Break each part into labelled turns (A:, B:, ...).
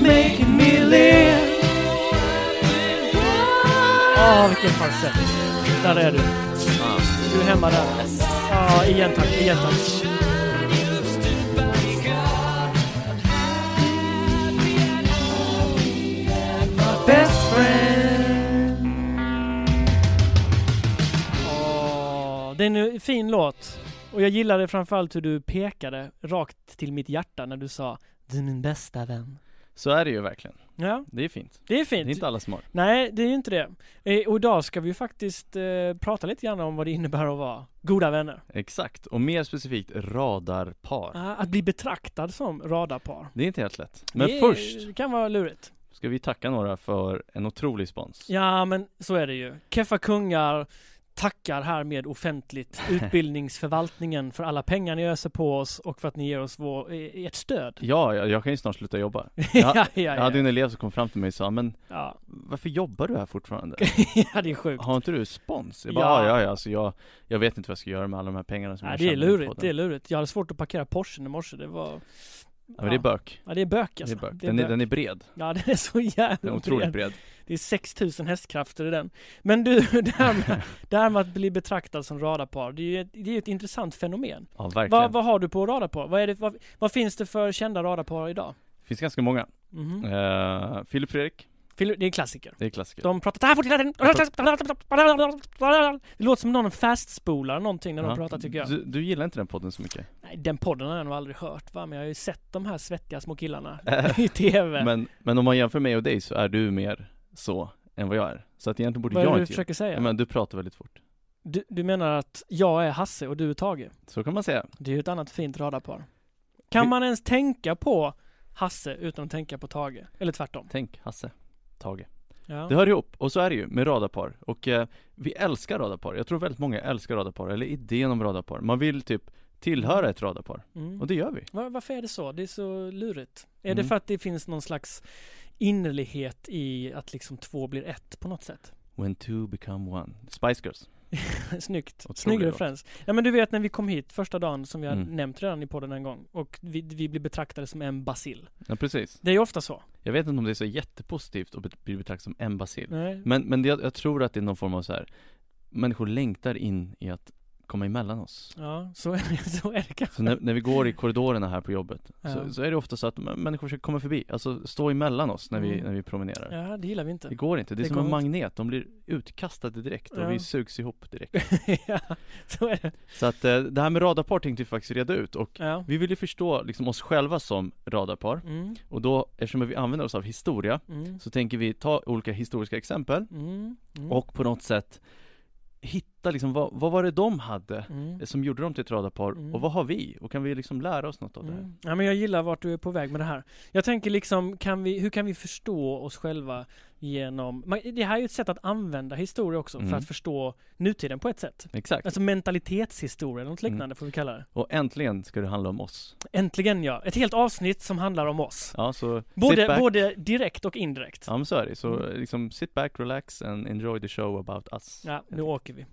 A: making me live Åh, vilken falsett. Där är du. Du är hemma där. Ja, igen tack, igen tack. Best friend Åh, det är en fin låt. Och jag gillade framförallt hur du pekade rakt till mitt hjärta när du sa Du är min bästa vän.
B: Så är det ju verkligen.
A: Ja,
B: Det är fint.
A: det är
B: Det
A: fint.
B: är inte alla som har.
A: Nej, det är ju inte det. Eh, och idag ska vi ju faktiskt eh, prata lite grann om vad det innebär att vara goda vänner.
B: Exakt. Och mer specifikt radarpar.
A: Ah, att bli betraktad som radarpar.
B: Det är inte helt lätt. Men
A: det är-
B: först
A: kan vara lurigt.
B: ska vi tacka några för en otrolig spons.
A: Ja, men så är det ju. Keffa Kungar tackar härmed offentligt utbildningsförvaltningen för alla pengar ni öser på oss och för att ni ger oss vår, eh, ert stöd.
B: Ja, jag, jag kan ju snart sluta jobba. Jag,
A: ja,
B: jag hade ju
A: ja.
B: en elev som kom fram till mig och sa, men
A: Ja.
B: varför jobbar du här fortfarande?
A: ja, det är sjukt.
B: Har inte du spons? Jag bara,
A: Ja.
B: ja, ja, ja, alltså jag, jag vet inte vad jag ska göra med alla de här pengarna som
A: Ja,
B: jag
A: det är
B: tjänar på
A: lurigt,
B: den."
A: det är lurigt. Jag hade svårt att parkera Porschen i morse, det var...
B: Ja, men det är bök.
A: Ja, det är bök
B: Det är
A: alltså.
B: bök. Den är, den är bred.
A: Ja, den är så
B: Den
A: jävla
B: är
A: bred.
B: otroligt bred.
A: Det är 6000 hästkrafter i den. Men du, det här med, det här med att bli betraktad som radarpar, det är ju ett, det är ju ett intressant fenomen.
B: Ja, verkligen.
A: Vad, vad har du på radarpar? Vad, är det, vad, vad finns det för kända radarpar idag?
B: Det finns ganska många.
A: Mhm.
B: Eh, Filip Fredrik,
A: Fil- Det är en klassiker.
B: det är klassiker.
A: De pratar så här fort hela tiden. Det låter som någon fastspolar någonting när de
B: Ja.
A: pratar tycker jag.
B: Du, du gillar inte den podden så mycket.
A: Nej, den podden har jag nog aldrig hört va, men jag har ju sett de här svettiga små killarna i TV.
B: Men, men om man jämför mig och dig så är du mer så än vad jag är. Så att egentligen borde
A: vad är
B: jag
A: det du
B: inte göra
A: försöker säga?
B: ja. Men du pratar väldigt fort.
A: du, du menar att jag är Hasse och du är Tage?
B: Så kan man säga.
A: Det är ju ett annat fint radarpar. Kan
B: Vi-
A: man ens tänka på Hasse utan att tänka på Tage? Eller tvärtom?
B: Tänk Hasse, Tage.
A: Ja.
B: Det hör ihop, och så är det ju med radarpar. Och eh, vi älskar radarpar. Jag tror väldigt många älskar radarpar, eller idén om radarpar. Man vill typ tillhöra ett radarpar.
A: Mm.
B: Och det gör vi.
A: Var, varför är det så? Det är så lurigt. Är det
B: Mm.
A: för att det finns någon slags innerlighet i att liksom två blir ett på något sätt?
B: When two become one. Spice Girls.
A: Snyggt.
B: Otroligt
A: Snygg
B: låt.
A: referens. Ja men du vet när vi kom hit första dagen som jag
B: Mm.
A: nämnt redan i podden en gång och vi, vi blev betraktade som en basil.
B: Ja, precis.
A: Det är ju ofta så.
B: Jag vet inte om det är så jättepositivt att bet- bli betraktad som en basil.
A: Nej.
B: Men, men det, jag tror att det är någon form av så här. människor längtar in i att komma emellan oss.
A: Ja, så är det, så är det kanske.
B: Så när, när vi går i korridorerna här på jobbet,
A: Ja.
B: så, så är det ofta så att m- människor ska komma förbi, alltså stå emellan oss när vi,
A: Mm.
B: när vi promenerar.
A: Ja, det gillar vi
B: Det
A: inte.
B: går inte, det är
A: Det
B: som
A: går
B: en
A: inte.
B: magnet, de blir utkastade direkt och
A: Ja.
B: vi sugs ihop direkt.
A: ja, så är det.
B: Så att eh, det här med radarpar tänkte vi faktiskt reda ut och
A: Ja.
B: vi vill ju förstå liksom oss själva som radarpar
A: Mm,
B: och då eftersom vi använder oss av historia
A: mm,
B: så tänker vi ta olika historiska exempel
A: mm, mm.
B: och på något sätt hitta liksom vad, vad var det de hade
A: Mm.
B: som gjorde dem till ett radarpar
A: Mm.
B: och vad har vi och kan vi liksom lära oss något av det här?
A: Mm. Ja, men jag gillar vart du är på väg med det här. Jag tänker liksom, kan vi, hur kan vi förstå oss själva genom... Man, det här är ju ett sätt att använda historia också
B: Mm.
A: för att förstå nutiden på ett sätt.
B: Exakt, Mm.
A: Alltså mentalitetshistoria, något liknande får vi kalla det.
B: och äntligen ska det handla om oss.
A: Äntligen ja, ett helt avsnitt som handlar om oss.
B: Ja, så sit
A: Både,
B: back.
A: både direkt och indirekt. Ja,
B: Ja men så är det, så
A: Mm.
B: liksom sit back, relax and enjoy the show about us.
A: nu åker vi.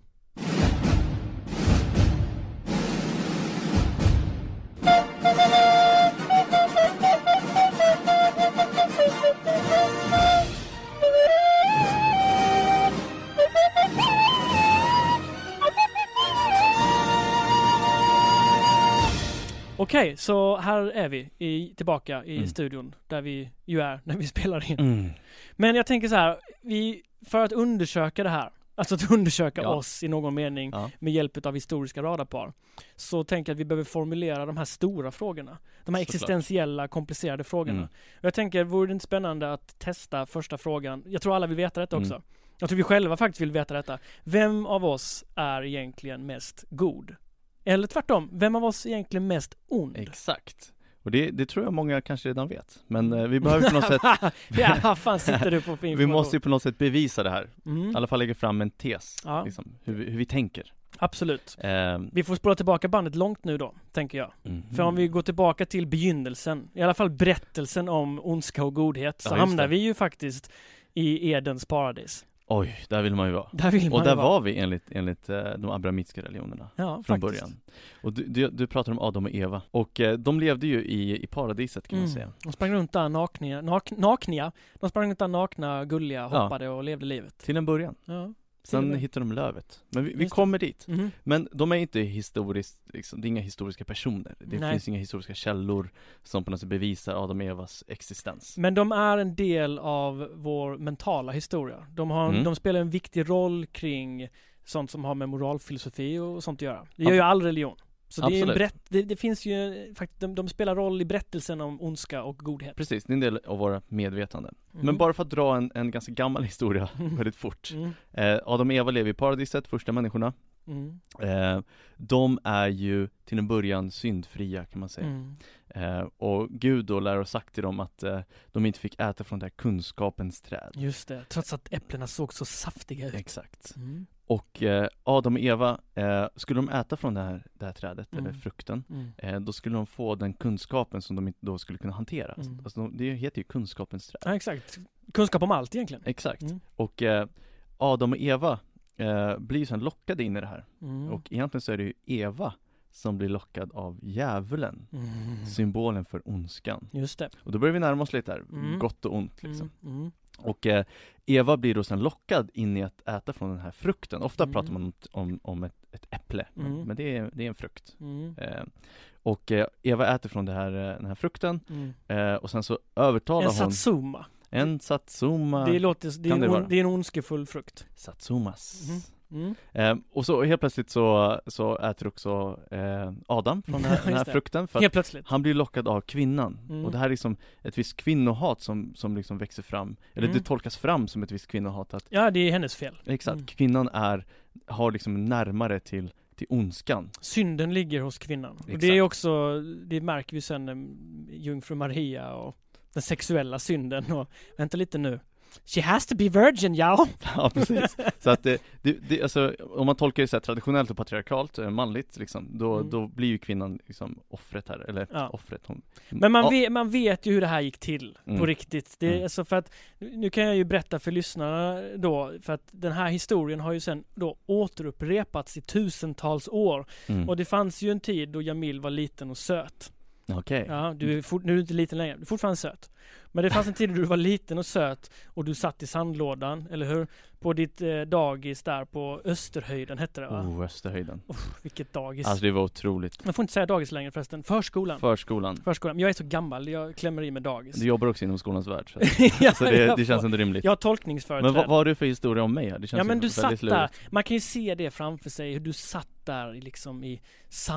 A: Okej, så här är vi i, tillbaka i
B: Mm.
A: studion där vi ju är när vi spelar in.
B: Mm.
A: Men jag tänker så här, vi, för att undersöka det här, alltså att undersöka
B: Ja.
A: oss i någon mening
B: Ja.
A: med hjälp av historiska radarpar, så tänker jag att vi behöver formulera de här stora frågorna. De här
B: Såklart.
A: existentiella, komplicerade frågorna.
B: Mm.
A: Jag tänker, vore det inte spännande att testa första frågan? Jag tror alla vill veta detta
B: Mm.
A: också. Jag tror vi själva faktiskt vill veta detta. Vem av oss är egentligen mest god? Eller tvärtom, vem av oss är egentligen mest ond?
B: Exakt. Och det, det tror jag många kanske redan vet.
A: Mm.
B: Men eh, vi behöver på något sätt,
A: ja, vad fan sitter du på för
B: vi
A: information?
B: måste ju på något sätt bevisa det här. I
A: mm,
B: alla fall lägga fram en tes,
A: Ja.
B: liksom, hur, vi- hur vi tänker.
A: Absolut.
B: Ehm,
A: Vi får spola tillbaka bandet långt nu då, tänker jag.
B: mhm.
A: För om vi går tillbaka till begynnelsen, i alla fall berättelsen om ondska och godhet, så
B: Ja, just
A: hamnar
B: det.
A: vi ju faktiskt i Edens paradis.
B: Oj, där vill man ju vara.
A: Där vill man
B: Och
A: ju
B: där
A: vara.
B: var vi enligt, enligt eh, de abramitska religionerna
A: ja,
B: från
A: faktiskt.
B: början. Och du, du, du pratar om Adam och Eva och eh, de levde ju i, i paradiset kan man
A: Mm.
B: säga.
A: De sprang runt där nakna, nak, nakna. De sprang runt där nakna, gulliga,
B: Ja.
A: hoppade och levde livet.
B: Till en början.
A: Ja.
B: Sen
A: Till-
B: hittade de lövet. Men vi, vi
A: Just det.
B: kommer dit.
A: Mhm.
B: Men de är inte historiskt, liksom, det är inga historiska personer. Det
A: Nej.
B: finns inga historiska källor som på något sätt bevisar Adam och Evas existens.
A: Men de är en del av vår mentala historia. De, har,
B: Mm.
A: de spelar en viktig roll kring sånt som har med moralfilosofi och sånt att göra. Det
B: Ab-
A: gör ju all religion. Så det, är ju en
B: Absolut.
A: berätt, det, det finns ju, faktiskt, de, de spelar roll i berättelsen om ondska och godhet.
B: Precis, det är en del av våra medvetanden.
A: Mm.
B: Men bara för att dra en, en ganska gammal historia väldigt fort.
A: Mm.
B: Eh, Adam och Eva lever i paradiset, första människorna.
A: Mm.
B: Eh, de är ju till en början syndfria kan man säga.
A: Mm.
B: Eh, och Gud då lär och sagt till dem att eh, de inte fick äta från det här kunskapens träd.
A: Just det, trots att äpplena såg så saftiga ut.
B: Exakt.
A: Mm.
B: Och eh, Adam och Eva, eh, skulle de äta från det här, det här trädet,
A: Mm.
B: eller frukten,
A: Mm.
B: eh, då skulle de få den kunskapen som de inte då skulle kunna hantera.
A: Mm.
B: Alltså, de, det heter ju kunskapens träd.
A: Ja, exakt. Kunskap om allt egentligen.
B: Exakt.
A: Mm.
B: Och eh, Adam och Eva eh, blir ju sen lockade in i det här.
A: Mm.
B: Och egentligen så är det ju Eva som blir lockad av djävulen.
A: Mm.
B: Symbolen för ondskan.
A: Just det.
B: Och då börjar vi närma oss lite här,
A: Mm.
B: gott och ont liksom.
A: Mm. Mm.
B: Och eh, Eva blir då sen lockad in i att äta från den här frukten. Ofta
A: Mm.
B: pratar man om, om, om ett, ett äpple, men,
A: Mm.
B: men det, är, det är en frukt.
A: Mm.
B: Eh, och eh, Eva äter från det här, eh, den här frukten
A: Mm.
B: eh, och sen så övertalar
A: En
B: hon
A: satsuma.
B: en satsuma,
A: Det, låter, det, är
B: Kan
A: en,
B: det
A: on,
B: vara?
A: det är en ondskefull frukt.
B: satsumas.
A: Mhm. Mm.
B: Eh, och så helt plötsligt så, så äter också eh, Adam från den här, den
A: Just
B: här
A: det.
B: frukten för att
A: Helt plötsligt.
B: han blir lockad av kvinnan
A: Mm.
B: och det här är liksom ett visst kvinnohat som, som liksom växer fram, eller
A: Mm.
B: det tolkas fram som ett visst kvinnohat att
A: Ja, det är hennes fel.
B: Exakt,
A: Mm.
B: kvinnan är, har liksom närmare till, till ondskan.
A: Synden ligger hos kvinnan. Och det är
B: Exakt.
A: också, det märker vi sen um, jungfru Maria och den sexuella synden och vänta lite nu. She has to be virgin, ja.
B: Ja precis, så att det, det, det alltså, om man tolkar det så här traditionellt och patriarkalt, eh, manligt liksom, då,
A: Mm.
B: då blir ju kvinnan liksom offret här, eller
A: Ja.
B: offret hon
A: Men man,
B: Ja,
A: vet, man vet ju hur det här gick till på
B: Mm.
A: riktigt. Det är
B: Mm.
A: alltså för att, nu kan jag ju berätta för lyssnarna då, för att den här historien har ju sen då återupprepats i tusentals år.
B: mm.
A: Och det fanns ju en tid då Jamil var liten och söt.
B: Okej,
A: Ja, du är fort, nu är du inte liten längre, du är fortfarande söt. Men det fanns en tid då du var liten och söt och du satt i sandlådan, eller hur? På ditt eh, dagis där på Österhöjden hette det va?
B: oh Österhöjden
A: Vilket dagis.
B: Alltså det var otroligt
A: Man får inte säga dagis längre förresten. Förskolan.
B: Förskolan,
A: Förskolan. Men jag är så gammal, jag klämmer i med dagis.
B: du jobbar också inom skolans värld, så, att-
A: ja,
B: så alltså det,
A: jag
B: det
A: får-
B: känns inte rimligt
A: Jag har
B: Men
A: tolkningsföreträde.
B: vad, vad har du för historia om mig här? Det känns
A: ja men
B: ju
A: du
B: väldigt
A: satt
B: lurigt.
A: där, man kan ju se det framför sig, hur du satt där i liksom i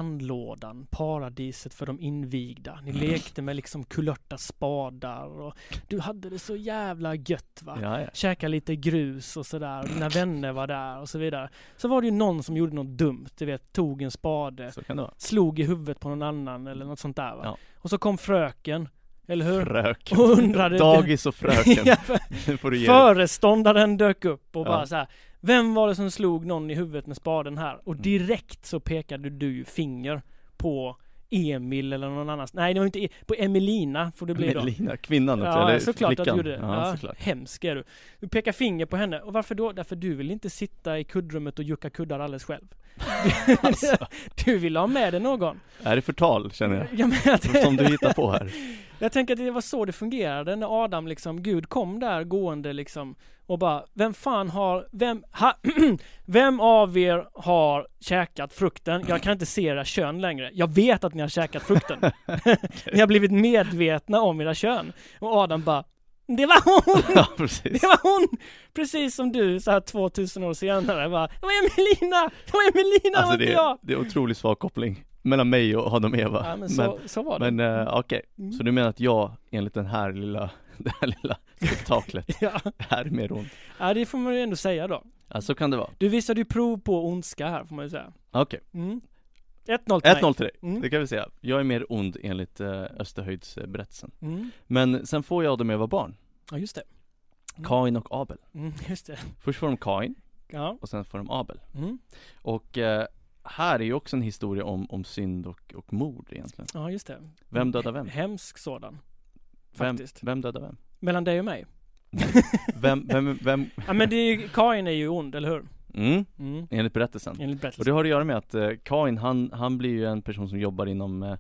A: sandlådan, paradiset för de invigda.
B: Mm.
A: Ni lekte med liksom kulörta spadar och du hade det så jävla gött va.
B: Ja, ja.
A: Käka lite grus och sådär, och dina vänner var där och så vidare. Så var det ju någon som gjorde något dumt, du vet, tog en spade,
B: Så kan det vara
A: slog i huvudet på någon annan eller något sånt där va.
B: Ja.
A: Och så kom fröken, eller hur?
B: Fröken
A: Och undrade...
B: Dagis och fröken,
A: Ja,
B: nu får du ge dig.
A: Föreståndaren dök upp och
B: Ja.
A: bara så här. Vem var det som slog någon i huvudet med spaden här? Och
B: Mm.
A: direkt så pekade du ju finger på Emil eller någon annan. Nej, det var inte e på Emelina får det bli då.
B: Melina, kvinnan också,
A: Ja,
B: eller
A: såklart
B: flickan.
A: att du gjorde det.
B: Ja,
A: Ja,
B: såklart.
A: hemsk är du. Du pekar finger på henne. Och varför då? Därför du vill inte sitta i kuddrummet och jucka kuddar alldeles själv.
B: Alltså.
A: Du vill ha med dig någon.
B: Är det förtal känner jag?
A: Jag, menar, att-
B: Som du hittar på här.
A: jag tänker att det var så det fungerade när Adam liksom, Gud kom där gående liksom och bara, vem fan har, vem, ha, vem av er har käkat frukten? Jag kan inte se era kön längre. Jag vet att ni har käkat frukten. ni har blivit medvetna om era kön. Och Adam bara, det var hon!
B: Ja precis.
A: Det var hon! Precis som du så här 2000 år senare bara, det var Emelina! Det var Emelina, det var
B: Alltså
A: inte
B: det
A: jag!
B: är, det är otroligt svag koppling mellan mig och Adam och Eva.
A: Ja, men så, så var det.
B: men, men eh, okej,
A: Mm.
B: så du menar att jag enligt den här lilla, det här lilla spektaklet
A: ja.
B: är mer ont?
A: ja, det får man ju ändå säga då.
B: Ja så kan det vara.
A: Du visade ju prov på ondska här får man ju säga.
B: Okej,
A: Mm. 1-0 till
B: 1-0 till dig.
A: Mm.
B: Det kan vi säga. Jag är mer ond enligt eh, Österhöjdsberättelsen.
A: mig. Mm.
B: Men sen får jag Adam och Eva barn.
A: Ja just det. Mm.
B: Kain och Abel.
A: Mm, just det.
B: Först får de Kain
A: Ja.
B: och sen får de Abel.
A: Mm.
B: Och eh, här är ju också en historia om, om synd och, och mord egentligen.
A: ja, just det.
B: Vem dödar vem?
A: Hemsk sådan.
B: Vem,
A: Faktiskt.
B: vem dödar vem?
A: Mellan dig och mig.
B: Vem, vem, vem,
A: Ja men det är ju, Kain är ju ond, eller hur?
B: mm,
A: Mm,
B: enligt berättelsen.
A: enligt
B: Och
A: berättelsen.
B: det har att göra med att eh, Kain, han, han blir ju en person som jobbar inom, eh,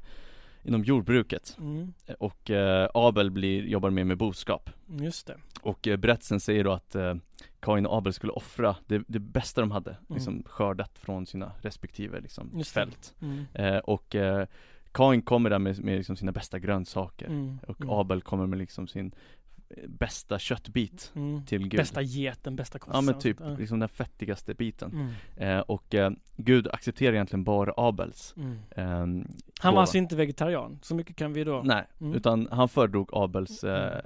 B: inom jordbruket.
A: Mm,
B: Och eh, Abel blir, jobbar mer med boskap.
A: Mm, just det.
B: Och eh, berättelsen säger då att eh, Kain och Abel skulle offra det, det bästa de hade, liksom skördat från sina respektive liksom,
A: Mm. Just det.
B: fält.
A: Mm,
B: Eh, och eh, Kain kommer där med, med liksom sina bästa grönsaker.
A: mm,
B: Och
A: mm,
B: Abel kommer med liksom sin eh, bästa köttbit
A: mm.
B: till Gud.
A: Bästa geten, bästa
B: Ja
A: kossan.
B: men typ,
A: Ja.
B: liksom den fettigaste biten.
A: Mm,
B: Eh, och eh, Gud accepterar egentligen bara Abels.
A: mm.
B: ehm,
A: Han
B: gåva.
A: var alltså inte vegetarian, så mycket kan vi då.
B: Nej,
A: Mm.
B: utan han föredrog Abels eh,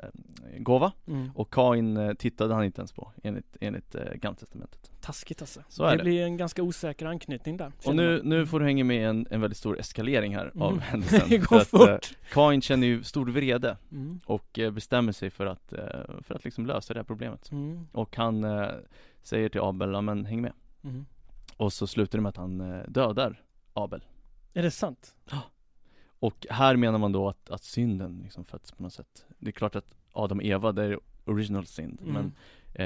B: gåva
A: Mm.
B: och Kain eh, tittade han inte ens på enligt, enligt eh, Gamla Testamentet.
A: Taskigt alltså.
B: Så är det.
A: blir en ganska osäker anknytning där.
B: Och
A: känner
B: nu,
A: man.
B: nu får du hänga med i en, en väldigt stor eskalering här av
A: Mm.
B: händelsen.
A: Det
B: För
A: går
B: att, eh,
A: fort.
B: Kain känner ju stor vrede
A: Mm,
B: och eh, bestämmer sig för att, eh, för att liksom lösa det här problemet.
A: mm,
B: Och han eh, säger till Abel, ja men häng med.
A: mm.
B: Och så slutar det med att han eh, dödar Abel.
A: Är det sant?
B: Och här menar man då att, att synden liksom föds på något sätt. Det är klart att Adam och Eva, det är original synd.
A: Mm.
B: Men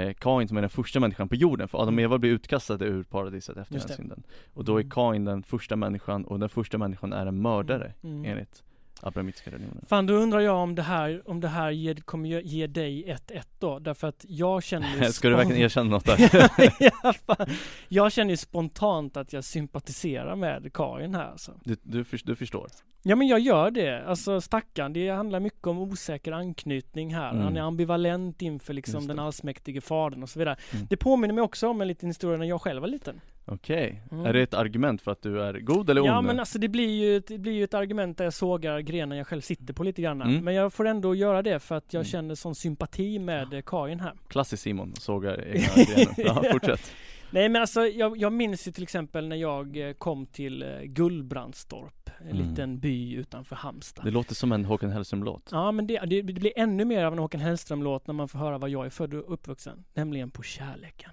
B: eh, Kain som är den första människan på jorden, för Adam och Eva blir utkastade ur paradiset efter
A: Just
B: den
A: det.
B: synden. Och då är
A: Mm.
B: Kain den första människan och den första människan är en mördare
A: Mm.
B: enligt abrahamitiska religionen.
A: Fan, då undrar jag om det här, om det här ger, kommer ge- ge dig 1-1 då? Därför att jag känner ju
B: Ska du verkligen
A: spon-
B: erkänna något där?
A: ja, fan. Jag känner ju spontant att jag sympatiserar med Karin här alltså.
B: Du, du, förs- du förstår.
A: Ja men jag gör det, alltså stackarn, det handlar mycket om osäker anknytning här.
B: Mm.
A: Han är ambivalent inför liksom
B: Just det.
A: den allsmäktige fadern och så vidare.
B: Mm.
A: Det påminner mig också om en liten historia när jag själv var liten.
B: Okej,
A: Mm.
B: är det ett argument för att du är god eller ond?
A: Ja men alltså det blir ju ett, det blir ju ett argument där jag sågar grenen jag själv sitter på lite grann.
B: Mm.
A: Men jag får ändå göra det för att jag
B: Mm.
A: känner sån sympati med eh, Karin här.
B: Klassisk Simon, sågar egna grenen. Ja, fortsätt.
A: Nej men alltså jag, jag minns ju till exempel när jag eh, kom till eh, Gullbrandstorp, en
B: Mm.
A: liten by utanför Halmstad.
B: Det låter som en Håkan Hellström-låt.
A: Ja men det, det, det blir ännu mer av en Håkan Hellström-låt när man får höra var jag är född och uppvuxen, nämligen på kärleken.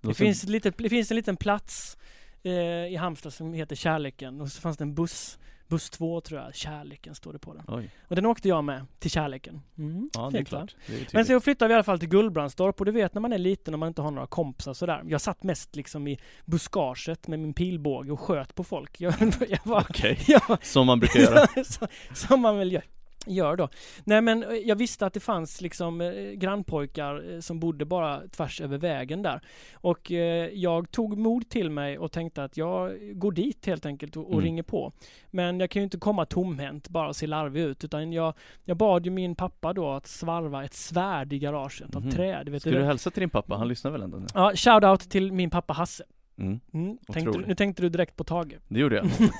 A: Det,
B: låter-
A: finns, ett litet, det finns en liten plats eh, i Halmstad som heter Kärleken och så fanns det en buss, buss 2 tror jag, Kärleken står det på den.
B: Oj,
A: Och den åkte jag med till Kärleken. Mm,
B: ja det är
A: fint, va?
B: klart. Det är
A: Men
B: tydligt.
A: sen flyttade vi i alla fall till Gullbrandstorp och du vet när man är liten och man inte har några kompisar sådär. Jag satt mest liksom i buskaget med min pilbåge och sköt på folk. Jag, jag var,
B: Okej,
A: jag var,
B: som man brukar göra.
A: så- som man väl gör, gör då. Nej men eh, jag visste att det fanns liksom eh, grannpojkar eh, som bodde bara tvärs över vägen där. Och eh, jag tog mod till mig och tänkte att jag går dit helt enkelt och, och
B: Mm.
A: ringer på. Men jag kan ju inte komma tomhänt bara och se larvig ut utan jag, jag bad ju min pappa då att svarva ett svärd i garaget av
B: Mhm.
A: trä. Du vet
B: Ska
A: det-
B: du hälsa till din pappa? Han lyssnar väl ändå nu?
A: Ja, shoutout till min pappa Hasse.
B: Mm.
A: Mm, tänkte, du-
B: Otroligt.
A: nu tänkte du direkt på Tage.
B: Det gjorde jag. Mm.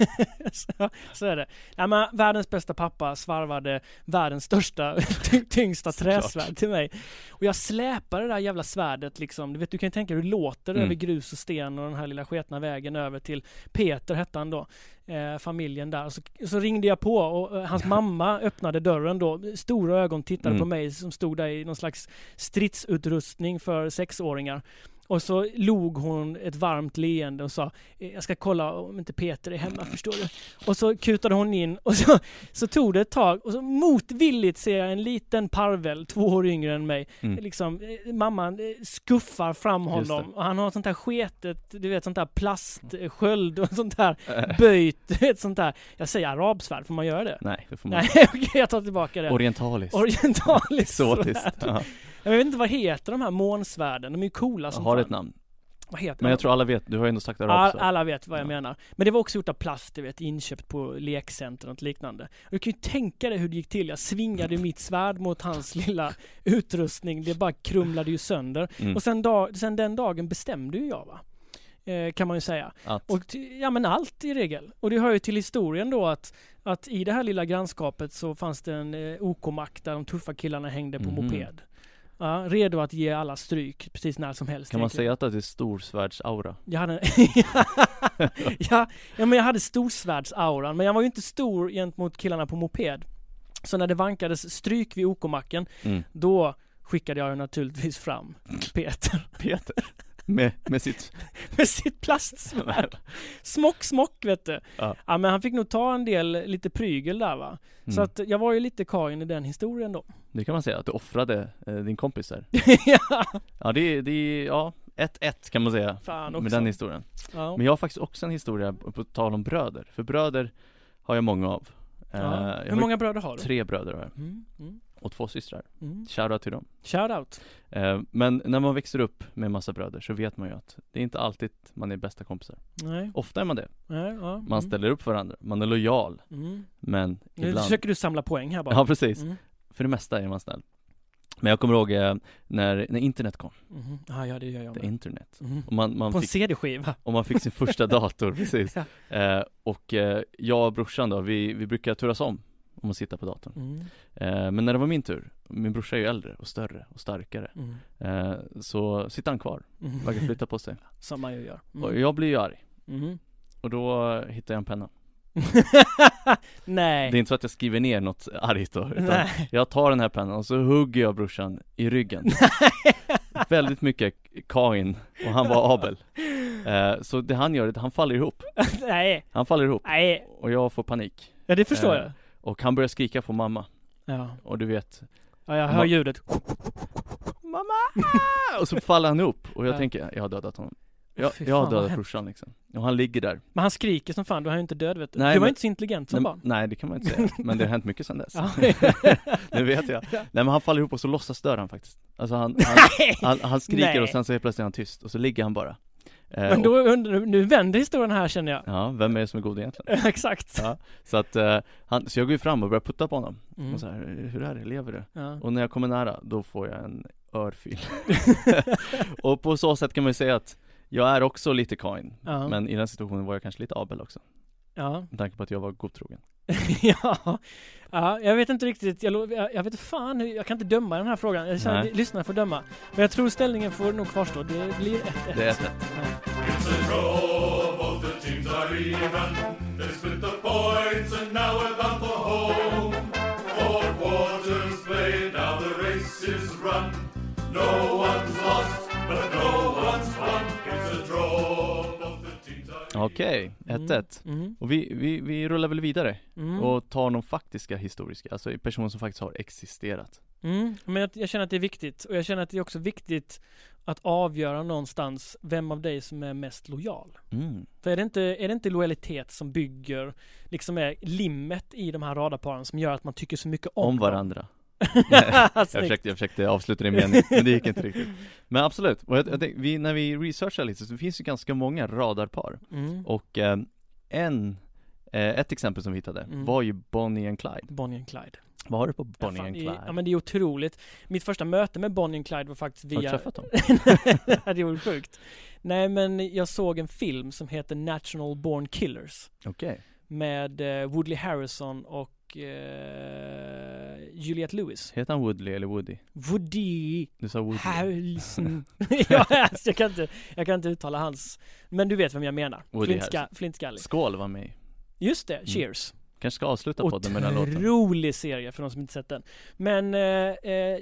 A: så, så är det. Ja, men, världens bästa pappa svarvade världens största, ty- tyngsta
B: Såklart.
A: träsvärd till mig. Och jag släpade det där jävla svärdet liksom. Du vet, du kan ju tänka hur det låter
B: Mm.
A: över grus och sten och den här lilla sketna vägen över till Peter hette han då. Eh, familjen där. Så, så ringde jag på och eh, hans mamma öppnade dörren då. Stora ögon tittade
B: Mm.
A: på mig som stod där i någon slags stridsutrustning för sexåringar. Och så log hon ett varmt leende och sa "Eh, Jag ska kolla om inte Peter är hemma, förstår du? Och så kutade hon in och så, så tog det ett tag och så motvilligt ser jag en liten parvel, två år yngre än mig,
B: Mm.
A: liksom eh, mamman eh, skuffar fram
B: Just det.
A: honom och han har sånt här sketet, du vet sånt där plastsköld och sånt där
B: Eh,
A: böjt, du vet sånt där. Jag säger arabsvärd, får man göra det?
B: Nej, det får man
A: Nej,
B: inte.
A: okej jag tar tillbaka det.
B: Orientaliskt.
A: Orientaliskt svärd.
B: Exotiskt. Ja.
A: Jag vet inte vad heter de här månsvärden, de är ju coola som
B: Har
A: fan.
B: ett namn.
A: Vad heter
B: Men
A: de?
B: jag tror alla vet, du har ju ändå sagt
A: All,
B: arab så.
A: alla vet vad jag
B: Ja.
A: menar. Men det var också gjort av plast, du vet, inköpt på lekcenter och något liknande. Och du kan ju tänka dig hur det gick till. Jag svingade mitt svärd mot hans lilla utrustning. Det bara krumlade ju sönder.
B: Mm.
A: Och sen, dag, sen den dagen bestämde ju jag va. Eh, kan man ju säga.
B: Att,
A: Och ty, ja men allt i regel. Och det hör ju till historien då att, att i det här lilla grannskapet så fanns det en eh, OK-mack där de tuffa killarna hängde på
B: Mhm.
A: moped. Ja, redo att ge alla stryk precis när som helst.
B: kan man
A: egentligen.
B: säga att det är storsvärdsaura?
A: Jag hade, ja, ja, men jag hade storsvärdsauran, men jag var ju inte stor gentemot killarna på moped. Så när det vankades stryk vid OK-macken,
B: Mm.
A: då skickade jag ju naturligtvis fram Peter.
B: Peter? med, med sitt
A: med sitt plastsvärd. Smock, smock vet du.
B: Ja.
A: Ja. men han fick nog ta en del, lite prygel där va. Så
B: Mm.
A: att jag var ju lite karln i den historien då.
B: Det kan man säga, att du offrade eh, din kompis där
A: ja,
B: Ja det är, det är ja 1-1 kan man säga
A: fan också.
B: Med den historien
A: ja.
B: Men jag har faktiskt också en historia på på tal om bröder För bröder har jag många av Eh, jag
A: ja.
B: har
A: Hur många bröder har du?
B: Tre bröder har jag
A: Mm, mm,
B: och två systrar
A: mm.
B: Shoutout till dem
A: Shoutout.
B: eh, Men när man växer upp med massa bröder så vet man ju att Det är inte alltid man är bästa kompisar
A: Nej,
B: Ofta är man det,
A: nej, ja.
B: man
A: mm,
B: ställer upp för varandra, man är lojal
A: Mm.
B: Men
A: Nu
B: ibland
A: försöker du samla poäng här bara.
B: Ja precis,
A: Mm.
B: för det mesta är man snäll Men jag kommer ihåg eh, när, när internet kom,
A: mhm. Ja, ja, det gör jag
B: det
A: med.
B: är internet
A: Mm.
B: och man, man
A: På en
B: fick
A: CD-skiva.
B: Och man fick sin första dator, precis.
A: Ja.
B: Eh, och eh, jag och brorsan då, vi, vi brukar turas om om att sitta på datorn.
A: Mm.
B: Eh, men när det var min tur, min brorsa är ju äldre och större och starkare,
A: Mm.
B: eh, så sitter han kvar,
A: Mm.
B: verkar flytta på sig.
A: Som man ju gör. Mm.
B: Och jag blir ju arg.
A: Mm.
B: Och då hittar jag en penna.
A: Nej.
B: Det är inte så att jag skriver ner något argt då, utan
A: Nej.
B: jag tar den här pennan och så hugger jag brorsan i ryggen. Väldigt mycket Kain, och han var Abel. Eh, så det han gör, är att han faller ihop.
A: Nej.
B: Han faller ihop.
A: Nej.
B: Och jag får panik.
A: Ja, det förstår
B: Eh,
A: jag.
B: Och han börjar skrika på mamma
A: Ja.
B: Och du vet
A: ja, jag hör
B: man-
A: ljudet.
B: Mamma! Och så faller han upp och jag
A: Ja.
B: tänker, jag har dödat honom Jag,
A: Fy
B: jag har
A: fan, vad
B: dödat
A: hemskt.
B: brorsan liksom Och han ligger där
A: Men han skriker som fan, då är han ju inte död vet du.
B: Nej,
A: du var
B: men-
A: inte så intelligent som
B: nej,
A: barn.
B: nej det kan man inte säga, men det har hänt mycket sedan dess
A: Ja.
B: Nu vet jag
A: Ja.
B: Nej men han faller ihop och så låtsas dör han faktiskt Alltså han, han, han, han skriker
A: Nej.
B: och sen så helt plötsligt är han tyst och så ligger han bara Eh,
A: Men
B: och,
A: då undrar du, nu vänder historien här känner jag.
B: Ja, vem är det som är god egentligen?
A: Exakt.
B: Ja. Så att, eh, han, så jag går ju fram och börjar putta på honom
A: Mm.
B: och så här, hur är det, lever du?
A: Ja.
B: Och när jag kommer nära, då får jag en örfil Och på så sätt kan man ju säga att jag är också lite Kain
A: Ja.
B: Men i den situationen var jag kanske lite Abel också
A: Ja.
B: Med tanke på att jag var godtrogen
A: ja. ja, jag vet inte riktigt, jag, lo- jag, jag vet inte fan, hur- jag kan inte döma i den här frågan. Jag känner,
B: Nej.
A: att lyssnarna får döma. Men jag tror ställningen får nog kvarstå, det blir 1-1.
B: Det är ett
C: It's a draw, both the teams are even. They split the points and now we're bound for home. Four quarters played, now the race is run. No one's lost, but no one's won. It's a draw, both the teams are even.
B: Okej, 1-1
A: Mm.
B: Och vi, vi, vi rullar väl vidare
A: Mm.
B: och tar de faktiska historiska, alltså personer som faktiskt har existerat
A: Mm. Men jag, jag känner att det är viktigt, och jag känner att det är också viktigt att avgöra någonstans vem av dig som är mest lojal.
B: mm.
A: För är det inte, är det inte lojalitet som bygger, liksom är limmet i de här radarparen som gör att man tycker så mycket om, Alltså,
B: Om
A: dem?
B: varandra jag
A: Snyggt.
B: försökte, jag försökte avsluta din mening, men det gick inte riktigt Men absolut, och jag, jag, tänkte- vi, när vi researchar lite så finns det ganska många radarpar
A: Mm.
B: Och eh, en, eh, ett exempel som vi hittade
A: Mm.
B: var ju Bonnie and Clyde
A: Bonnie and Clyde.
B: Vad har du på Bonnie
A: Fan,
B: and
A: det-
B: Clyde?
A: Ja men det är otroligt. Mitt första möte med Bonnie and Clyde var faktiskt
B: Har du
A: via...
B: träffat dem?
A: det är sjukt. Nej men jag såg en film som heter National Born Killers.
B: Okej
A: Med eh, Woodley Harrison och eh, Juliette Lewis.
B: Heter han Woodley eller Woody?
A: Woody
B: Du sa Woody
A: Harrelson. ja, alltså, jag, kan inte, jag kan inte uttala hans. Men du vet vem jag menar.
B: Woody
A: Flintska,
B: Harrelson.
A: flintskallig.
B: Skål var med
A: Just det, Cheers.
B: Kanske ska avsluta Mm. podden med den här låten
A: Otrolig serie för de som inte sett den. Men, eh, eh,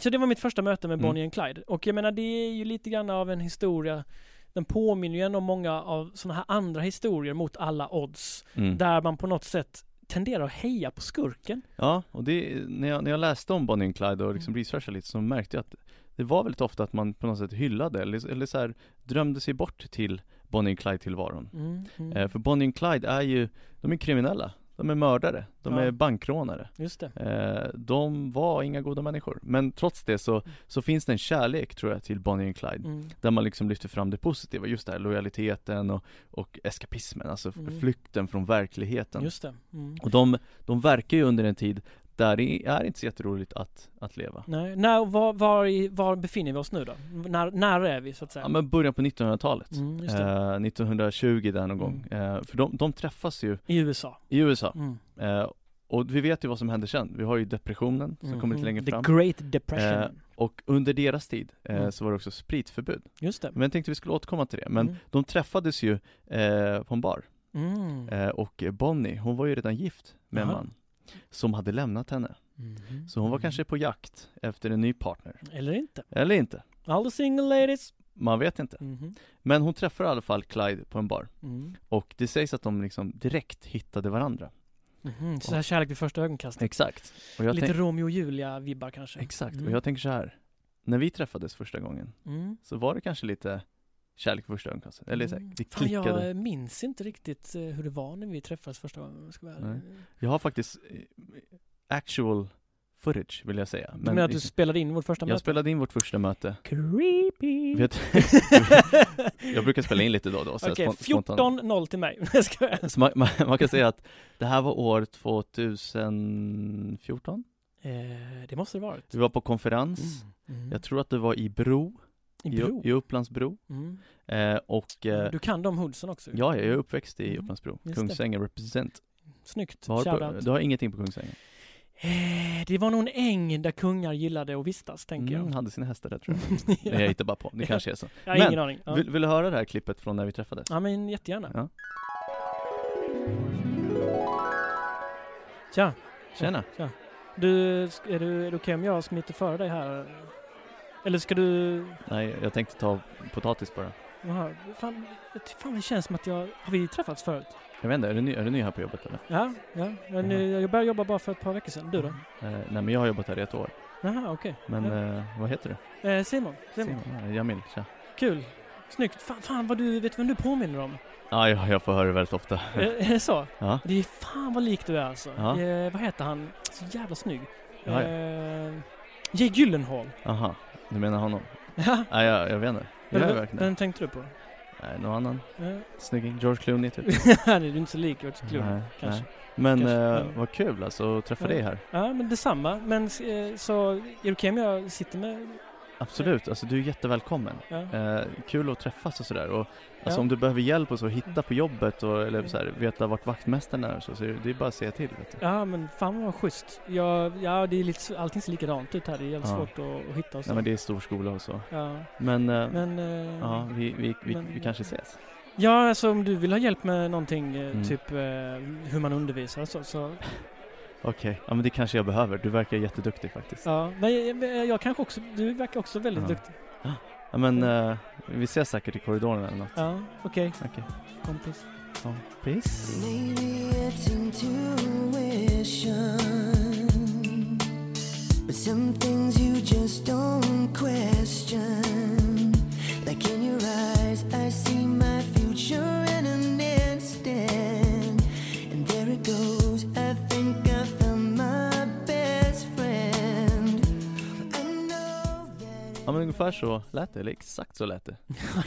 A: så det var mitt första möte med
B: Mm.
A: Bonnie and Clyde. Och jag menar det är ju lite grann av en historia, den påminner ju ändå om många av sådana här andra historier mot alla odds.
B: mm.
A: Där man på något sätt tenderar att heja på skurken.
B: Ja, och det, när jag, när jag läste om Bonnie and Clyde och liksom
A: Mm.
B: researchade lite så märkte jag att Det var väldigt ofta att man på något sätt hyllade eller, eller så här drömde sig bort till Bonnie and Clyde tillvaron
A: Mm, mm.
B: eh, För Bonnie and Clyde är ju, de är kriminella De är mördare, de
A: Ja.
B: är bankrånare
A: Just det.
B: Eh, de var inga goda människor, men trots det så, så finns det en kärlek tror jag till Bonnie and Clyde
A: Mm.
B: Där man liksom lyfter fram det positiva, just det här lojaliteten och, och eskapismen, alltså f-
A: Mm.
B: flykten från verkligheten
A: Just det. Mm.
B: Och de, de verkar ju under en tid där det är inte så jätteroligt att, att leva
A: Nej, när, var, var, i, var befinner vi oss nu då? När, när är vi så att säga?
B: Ja men början på 1900-talet
A: Mm, just det. Mm.
B: eh, 1920 där någon gång, eh, för de, de träffas ju
A: I USA.
B: i USA
A: Mm.
B: eh, Och vi vet ju vad som händer sen, vi har ju depressionen som
A: Mm.
B: kommer lite längre fram
A: The Great Depression.
B: Eh, Och under deras tid eh,
A: Mm.
B: så var det också spritförbud
A: Just det.
B: Men jag tänkte vi skulle återkomma till det, men
A: Mm.
B: de träffades ju eh, på en bar
A: Mm.
B: eh, och Bonnie, hon var ju redan gift med en
A: Jaha.
B: man som hade lämnat henne.
A: Mhm.
B: Så hon var
A: Mm.
B: kanske på jakt efter en ny partner.
A: Eller inte.
B: Eller inte.
A: All the single ladies.
B: Man vet inte.
A: Mhm.
B: Men hon träffar i alla fall Clyde på en bar.
A: Mm.
B: Och det sägs att de liksom direkt hittade varandra.
A: Mhm. Så här kärlek vid första ögonkastet.
B: Exakt. Och jag
A: Lite
B: tänk-
A: Romeo och Julia-vibbar kanske.
B: Exakt.
A: Mm.
B: Och jag tänker så här. När vi träffades första gången
A: Mm.
B: så var det kanske lite kärlek på första ögonkastet. Eller så här,
A: Mm.
B: det
A: Fan,
B: klickade.
A: jag eh, minns inte riktigt eh, hur det var när vi träffades första gången. om jag Ska vara ärlig.
B: Nej. Jag har faktiskt eh, actual footage vill jag säga. liksom,
A: Du Mm. menar att du spelade in vårt första
B: jag
A: möte?
B: spelade in vårt första möte.
A: Creepy!
B: Vet, jag brukar spela in lite då och då. så här
A: Okej,
B: spont- spontant.
A: 14-0 till mig. Jag skojar.
B: Så man, man, man kan säga att det här var år 2014.
A: Eh, det måste det varit.
B: Vi var på konferens.
A: Mm.
B: Jag tror att det var i Bro,
A: I Bro.
B: I, i Upplandsbro.
A: Mm.
B: Eh, och eh,
A: Du kan de hoodsen också. ju.
B: ja, jag är uppväxt i
A: Mm,
B: Upplandsbro.
A: just det.
B: Kungsängen represent.
A: Snyggt.
B: Du har, på,
A: Shoutout.
B: du har ingenting på Kungsängen?
A: Eh, det var nog en äng där kungar gillade att vistas, tänker
B: Mm,
A: jag.
B: hade sina hästar där tror jag.
A: ja.
B: Nej, jag hittar bara på. Det kanske är så.
A: Jag har ingen
B: Men,
A: aning. Ja.
B: Vill, vill du höra det här klippet från när vi träffades?
A: ja, men jättegärna.
B: Ja.
A: Tja,
B: Tjena!
A: du, sk- är, du, är det okej om jag smiter före dig här? Eller ska du...
B: Nej, jag tänkte ta potatis bara.
A: Jaha, fan, jag ty- fan, det känns som att jag... Har vi träffats förut?
B: Jag vet inte, är du ny, är du ny här på jobbet eller?
A: Ja, ja. Men eh,
B: Mm.
A: jag började jobba bara för ett par veckor sedan. Du då?
B: Eh, nej men jag har jobbat här i ett år.
A: Jaha, okej.
B: Men
A: ja.
B: eh, vad heter du?
A: eh, Simon, Simon.
B: Ja, Jamil, tja.
A: Kul. Snyggt. Fan, fan vad du... Vet du vem du påminner om?
B: Ja, jag, jag får höra det väldigt ofta.
A: Eh, Är det så?
B: Ja.
A: Det är fan vad lik du är alltså.
B: Ja.
A: Eh, vad heter han? Så jävla snygg.
B: Ja, ja.
A: Eh, Jay Gyllenhaal.
B: Aha, du menar honom?
A: Ja.
B: Nej, jag, jag vet inte. Jag
A: Vem-
B: är verkligen
A: Vem tänkte du på?
B: Nej, någon annan
A: Eh,
B: snygging? George Clooney typ?
A: det är du inte så lik George Clooney.
B: Nej,
A: Kanske.
B: nej. Men
A: Kanske,
B: eh,
A: men-
B: vad kul alltså att träffa
A: Ja.
B: dig här.
A: Ja, men detsamma. Men eh, så, är det okej om jag sitter med...
B: Absolut, alltså du är jättevälkommen.
A: Ja.
B: Eh, kul att träffas och sådär. Och,
A: Ja.
B: alltså om du behöver hjälp och så, hitta på jobbet och, eller
A: Mm.
B: så här, veta vart vaktmästaren är och så, så är det det är bara att säga till. Vet du.
A: ja, men fan vad schysst. Ja, ja det är lite, så- allting ser likadant ut här. Det är jävligt
B: Ja.
A: svårt att, att hitta och så.
B: Nej men det är stor skola och så.
A: ja.
B: Men, eh,
A: Men, eh,
B: ja,
A: ja.
B: vi, vi, vi,
A: men-
B: vi kanske ses.
A: ja, alltså om du vill ha hjälp med någonting, eh,
B: Mm.
A: typ eh, hur man undervisar och så, så
B: Okej, ja men det kanske jag behöver. Du verkar jätteduktig faktiskt. Ja,
A: ja. Men jag, jag- jag kanske också, du verkar också väldigt
B: Ja.
A: duktig.
B: men eh, vi ses säkert i korridoren eller något.
A: Ja, okej,
B: Okej.
A: kompis.
B: Peace.
D: Maybe it's intuition, but some things you just don't question. Like in your eyes, I see my future in an instant, and there it goes. I think I found my best friend. I know that.
B: Ja men ungefär så lät det, eller exakt så lät det.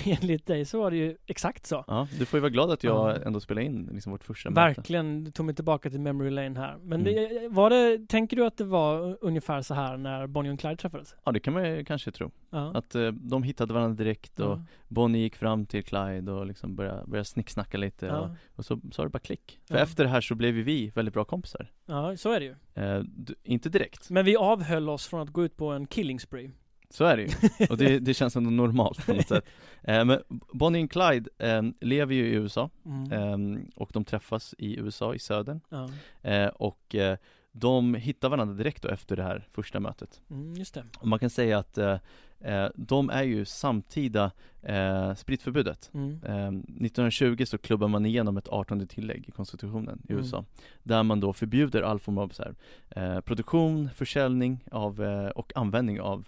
A: Enligt dig så var det ju exakt så.
B: Ja, du får ju vara glad att jag
A: Ja.
B: ändå spelade in liksom vårt första möte.
A: Verkligen, du tog mig tillbaka till memory lane här.
B: Mm.
A: Men det, eh, var det, tänker du att det var ungefär så här när Bonnie och Clyde träffades?
B: Ja det kan man ju kanske tro.
A: Ja.
B: Att eh, de hittade varandra direkt och
A: ja.
B: Bonnie gick fram till Clyde och liksom började, började snicksnacka lite och,
A: Ja.
B: och så sa det bara klick. För
A: Ja.
B: efter det här så blev ju vi väldigt bra kompisar.
A: ja, så är det ju.
B: Eh, du, inte direkt,
A: Men vi avhöll oss från att gå ut på en killing spree.
B: så är det ju. Och det, det känns ändå normalt på något sätt. Eh, men Bonnie och Clyde eh, lever ju i USA
A: Mm.
B: eh, och de träffas i USA, i södern.
A: Ja.
B: Eh, och eh, de hittar varandra direkt då efter det här första mötet.
A: Mm, just det.
B: Och man kan säga att eh, eh, de är ju samtida eh, spritförbudet.
A: Mm.
B: Eh, 1920 så klubbar man igenom ett 18 tillägg i konstitutionen i
A: Mm.
B: USA. Där man då förbjuder all form av så här, eh, produktion, försäljning av, eh, och användning av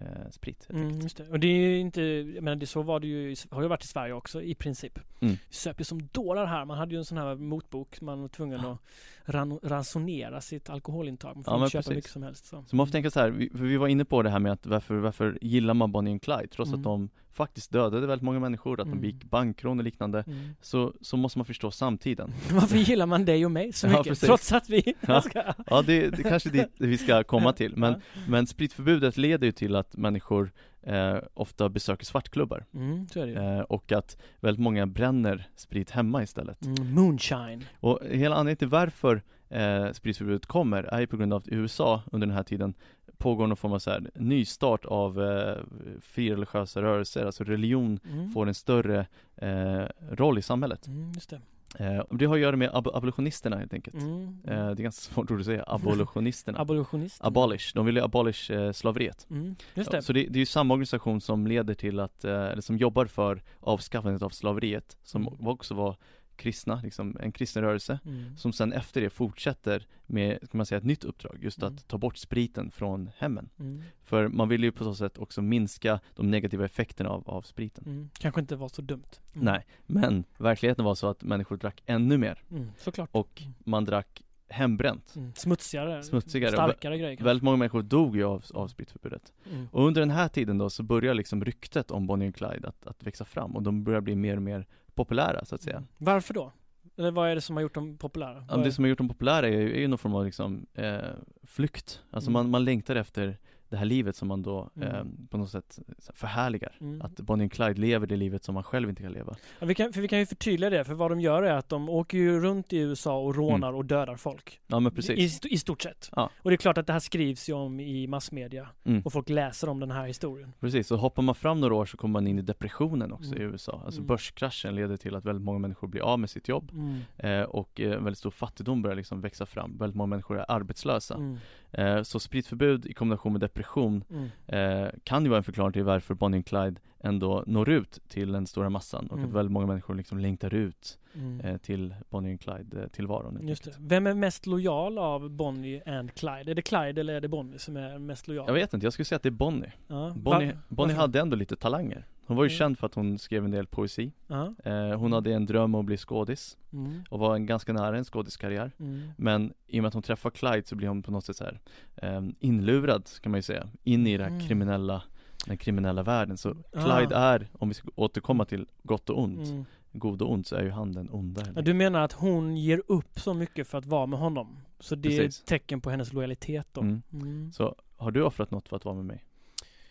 B: eh, sprit. helt
A: Mm,
B: enkelt.
A: just det. Och det är ju inte, jag menar det så var det ju, i- har det varit i Sverige också i princip.
B: Mm.
A: Söp ju som dårar här. Man hade ju en sån här motbok, man var tvungen att ran, ransonera sitt alkoholintag. Man får
B: Ja, men
A: inte köpa
B: precis.
A: mycket som helst. Så.
B: Så man får tänka så här, vi, för vi var inne på det här med att varför, varför gillar man Bonnie and Clyde? Trots
A: Mm.
B: att de faktiskt dödade väldigt många människor, att
A: Mm.
B: de begick bankrån och liknande.
A: Mm.
B: Så, så måste man förstå samtiden.
A: Varför gillar man dig och mig så
B: Ja,
A: mycket?
B: precis.
A: trots att vi...
B: Ja. Ja, det, det kanske är dit vi ska komma till. Men, Men spritförbudet leder ju till att människor eh, ofta besöker svartklubbar
A: Mm, så är det ju.
B: eh, och att väldigt många bränner sprit hemma istället.
A: Mm, moonshine.
B: Och hela anledningen till varför eh, spritförbudet kommer är ju på grund av att i USA under den här tiden pågår någon form av så här nystart av eh, frireligiösa rörelser, alltså religion
A: Mm.
B: får en större eh, roll i samhället.
A: Mm, just det.
B: Eh, och det har att göra med ab- abolitionisterna helt enkelt.
A: Mm.
B: Eh, det är ganska svårt ord att säga, abolitionisterna.
A: Abolitionist.
B: Abolish, de vill ju abolish eh, slaveriet.
A: mm. Just
B: Ja,
A: det.
B: Så det, det är ju samma organisation som leder till att, eh, eller som jobbar för avskaffandet av slaveriet, som
A: Mm.
B: också var kristna, liksom en kristen rörelse,
A: Mm.
B: som sen efter det fortsätter med, kan man säga, ett nytt uppdrag, just
A: Mm.
B: att ta bort spriten från hemmen.
A: Mm.
B: För man vill ju på så sätt också minska de negativa effekterna av, av spriten.
A: Mm. Kanske inte var så dumt. Mm.
B: Nej, men verkligheten var så att människor drack ännu mer
A: Mm. Såklart.
B: och
A: Mm.
B: man drack hembränt.
A: Mm. Smutsigare.
B: Smutsigare.
A: Starkare grejer. kanske.
B: Väldigt många människor dog ju av, av spritförbudet.
A: Mm.
B: Och under den här tiden då så börjar liksom ryktet om Bonnie och Clyde att, att växa fram och de börjar bli mer och mer populära så att säga.
A: Mm. Varför då? Eller vad är det som har gjort dem populära?
B: Ja,
A: Vad
B: Det
A: är-
B: som har gjort dem populära är ju, är ju någon form av liksom, eh, flykt. Alltså
A: Mm.
B: man, man längtar efter det här livet som man då eh,
A: Mm.
B: på något sätt så här förhärligar.
A: Mm.
B: Att Bonnie och Clyde lever det livet som man själv inte kan leva.
A: Ja, vi, kan, för vi kan ju förtydliga det, för vad de gör är att de åker ju runt i USA och rånar och dödar folk.
B: Ja men Mm. precis.
A: I, st- I stort sett.
B: Ja.
A: Och det är klart att det här skrivs ju om i massmedia.
B: Mm.
A: Och folk läser om den här historien.
B: Precis, och hoppar man fram några år så kommer man in i depressionen också
A: Mm.
B: i USA. Alltså
A: Mm.
B: börskraschen leder till att väldigt många människor blir av med sitt jobb
A: Mm.
B: eh, och eh, väldigt stor fattigdom börjar liksom växa fram. Väldigt många människor är arbetslösa.
A: Mm.
B: Eh, så spritförbud i kombination med depression
A: Mm.
B: eh, kan ju vara en förklaring till varför Bonnie och Clyde ändå når ut till den stora massan och
A: Mm.
B: att väldigt många människor liksom längtar ut
A: Mm.
B: eh, till Bonnie och Clyde eh, tillvaron. helt
A: Just det.
B: enkelt.
A: Vem är mest lojal av Bonnie and Clyde? Är det Clyde eller är det Bonnie som är mest lojal?
B: Jag vet inte, jag skulle säga att det är Bonnie.
A: Ja.
B: Bonnie,
A: Va-
B: Bonnie
A: varför?
B: hade ändå lite talanger. Hon var ju
A: Mm.
B: känd för att hon skrev en del poesi.
A: Ja.
B: Eh, hon hade en dröm om att bli skådis.
A: Mm.
B: och var en ganska nära en skådiskarriär.
A: Mm.
B: Men i och med att hon träffar Clyde så blir hon på något sätt så här ehm, inlurad kan man ju säga, in i det här
A: Mm.
B: kriminella den kriminella världen. Så
A: Ah.
B: Clyde är, om vi ska återkomma till gott och ont,
A: Mm.
B: god och ont, så är ju han den onda.
A: Ja, Du menar att hon ger upp så mycket för att vara med honom? Så det är
B: Precis.
A: ett tecken på hennes lojalitet då?
B: Mm.
A: Mm.
B: Så har du offrat något för att vara med mig?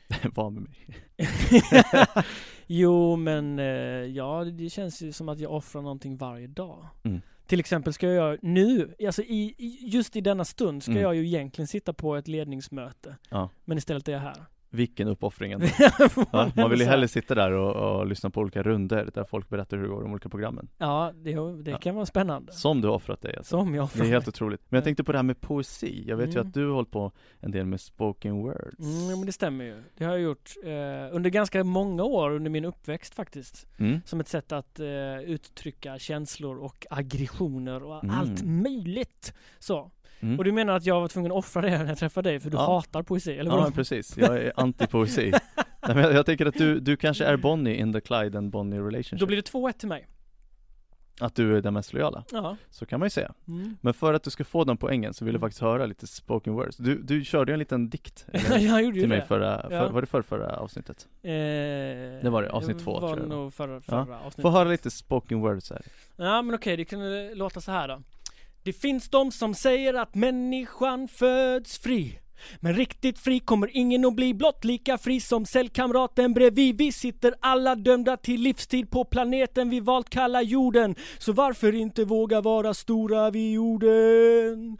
B: vara med mig?
A: jo, men eh, ja, det känns ju som att jag offrar någonting varje dag.
B: Mm.
A: Till exempel ska jag nu, alltså i, i, just i denna stund ska
B: Mm.
A: jag ju egentligen sitta på ett ledningsmöte.
B: Ja.
A: Men istället är jag här.
B: Vilken uppoffring ändå.
A: Får
B: Va? Man vill ju
A: säga.
B: hellre sitta där och, och lyssna på olika runder där folk berättar hur det går i de olika programmen.
A: Ja, det, det kan vara spännande.
B: Som du har offrat dig alltså.
A: Som jag
B: Det är helt otroligt. Men jag tänkte på det här med poesi. Jag vet ju
A: Mm.
B: att du har hållit på en del med spoken words.
A: Mm, men det stämmer ju. Det har jag gjort eh, under ganska många år under min uppväxt faktiskt.
B: Mm.
A: Som ett sätt att eh, uttrycka känslor och aggressioner och
B: Mm.
A: allt möjligt. Så.
B: Mm.
A: Och du menar att jag var tvungen att offra det när jag träffade dig för du
B: Ja.
A: hatar poesi, eller
B: Ja
A: vadå?
B: men precis, jag är anti-poesi. Nej, men jag, jag tänker att du, du kanske är Bonnie in the Clyde and Bonnie relationship.
A: Då blir det 2-1 till mig.
B: Att du är den mest lojala.
A: Ja.
B: Så kan man ju säga.
A: Mm.
B: Men för att du ska få den poängen så vill jag
A: Mm.
B: faktiskt höra lite spoken words. Du, du körde ju en liten dikt eller,
A: jag gjorde ju
B: till mig
A: det.
B: förra, för,
A: Ja.
B: var det förra, förra avsnittet?
A: Eh,
B: Det var det, avsnitt två,
A: var
B: tror jag.
A: nog förra, förra avsnittet.
B: Få höra lite spoken words här.
A: Ja men okej, det kunde låta så här då. Det finns de som säger att människan föds fri. Men riktigt fri kommer ingen att bli, blott lika fri som cellkamraten bredvid. Vi sitter alla dömda till livstid på planeten vi valt kalla jorden. Så varför inte våga vara stora vid jorden?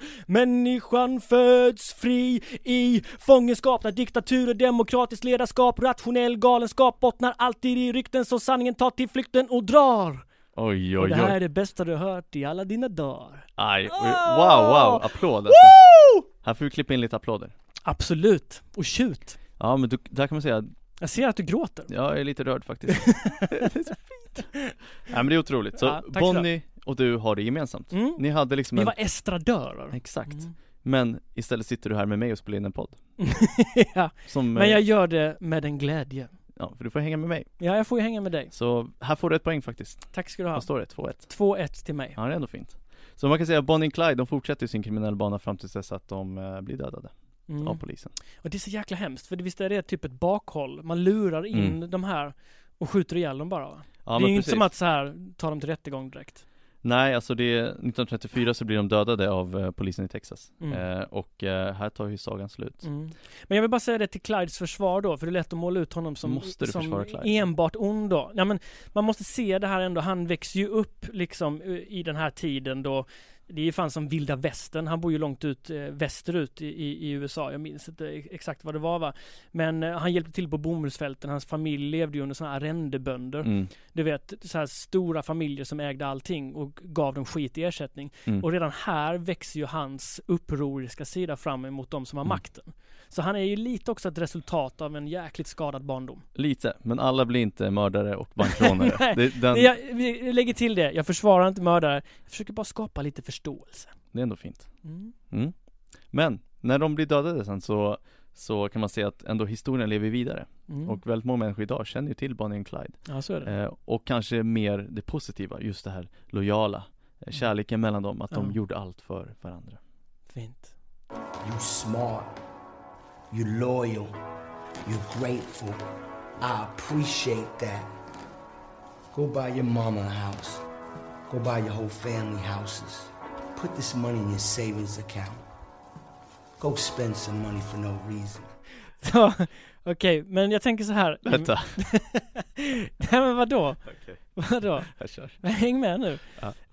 A: Människan föds fri i fångenskap när diktaturer, demokratiskt ledarskap, rationell galenskap bottnar alltid i rykten så sanningen tar till flykten och drar.
B: Oj
A: Och
B: oj
A: det här
B: oj.
A: är det bästa du har hört i alla dina dagar.
B: Aj, oj. Wow wow, applåd alltså. Här får vi klippa in lite applåder.
A: Absolut. Och tjut.
B: Ja men du, där kan man säga,
A: Jag ser att du gråter.
B: jag är lite rörd faktiskt. det är så fint. Nej men det är otroligt. Så
A: Ja, tack ska du ha.
B: Bonnie och du har det gemensamt.
A: Mm.
B: Ni hade liksom
A: Vi
B: en
A: var estradörer.
B: Exakt.
A: Mm.
B: Men istället sitter du här med mig och spelar in en podd.
A: ja.
B: Som,
A: Men
B: eh,
A: jag gör det med en glädje.
B: ja, för du får hänga med mig.
A: Ja, jag får ju hänga med dig.
B: Så här får du ett poäng faktiskt.
A: Tack ska du ha.
B: Vad står det? 2-1?
A: 2-1 till mig.
B: Ja, det är ändå fint. Så man kan säga att Bonnie och Clyde, de fortsätter ju sin kriminella bana fram tills dess att de eh, blir dödade
A: Mm.
B: av polisen.
A: Och det är så jäkla hemskt, för det- visst är det typ ett bakhåll? Man lurar in
B: Mm.
A: de här och skjuter ihjäl dem bara. va?
B: Ja,
A: det är
B: men
A: ju inte
B: precis.
A: som att så här ta dem till rättegång direkt.
B: Nej, alltså det, 1934 så blir de dödade av eh, polisen i Texas.
A: Mm.
B: Eh, och eh, här tar ju sagan slut.
A: Mm. Men jag vill bara säga det till Clydes försvar då, för det är lätt att måla ut honom som,
B: Måste du försvara
A: som
B: Clyde?
A: enbart ond då. Ja, men man måste se det här ändå, han växer ju upp liksom eh, i den här tiden då Det är ju fan som vilda västern. Han bor ju långt ut eh, västerut i, i, i USA. Jag minns inte ex- exakt vad det var va. Men eh, han hjälpte till på bomullsfälten. Hans familj levde ju under sådana arrendebönder.
B: Mm.
A: Du vet, så här stora familjer som ägde allting och gav dem skit i ersättning.
B: Mm.
A: Och redan här växer ju hans upproriska sida fram emot de
B: Mm.
A: som har makten. Så han är ju lite också ett resultat av en jäkligt skadad barndom.
B: Mm. Lite, men alla blir inte mördare och bankrånare.
A: Nej.
B: det, den,
A: Jag, vi lägger till det, jag försvarar inte mördare. Jag försöker bara skapa lite förståelse.
B: det är ändå fint.
A: Mm.
B: Men när de blir dödade sen så, så kan man se att ändå historien lever vidare.
A: Mm.
B: Och väldigt många människor idag känner ju till Bonnie and Clyde.
A: ja, så är det.
B: Eh, och kanske mer det positiva, just det här lojala. eh, Kärleken mellan dem, att de
A: Mm. Ja. Mm.
B: gjorde allt för varandra.
A: Fint.
E: You smart. You loyal. You're grateful. I appreciate that. Go buy your mama a house. Go buy your whole family houses. Put this money in your savings account. Go spend some money for no reason.
A: Så, Okej, men jag tänker så här.
B: Vänta,
A: Nej men vadå?
B: Okej.
A: Vadå?
B: jag kör.
A: Häng med nu.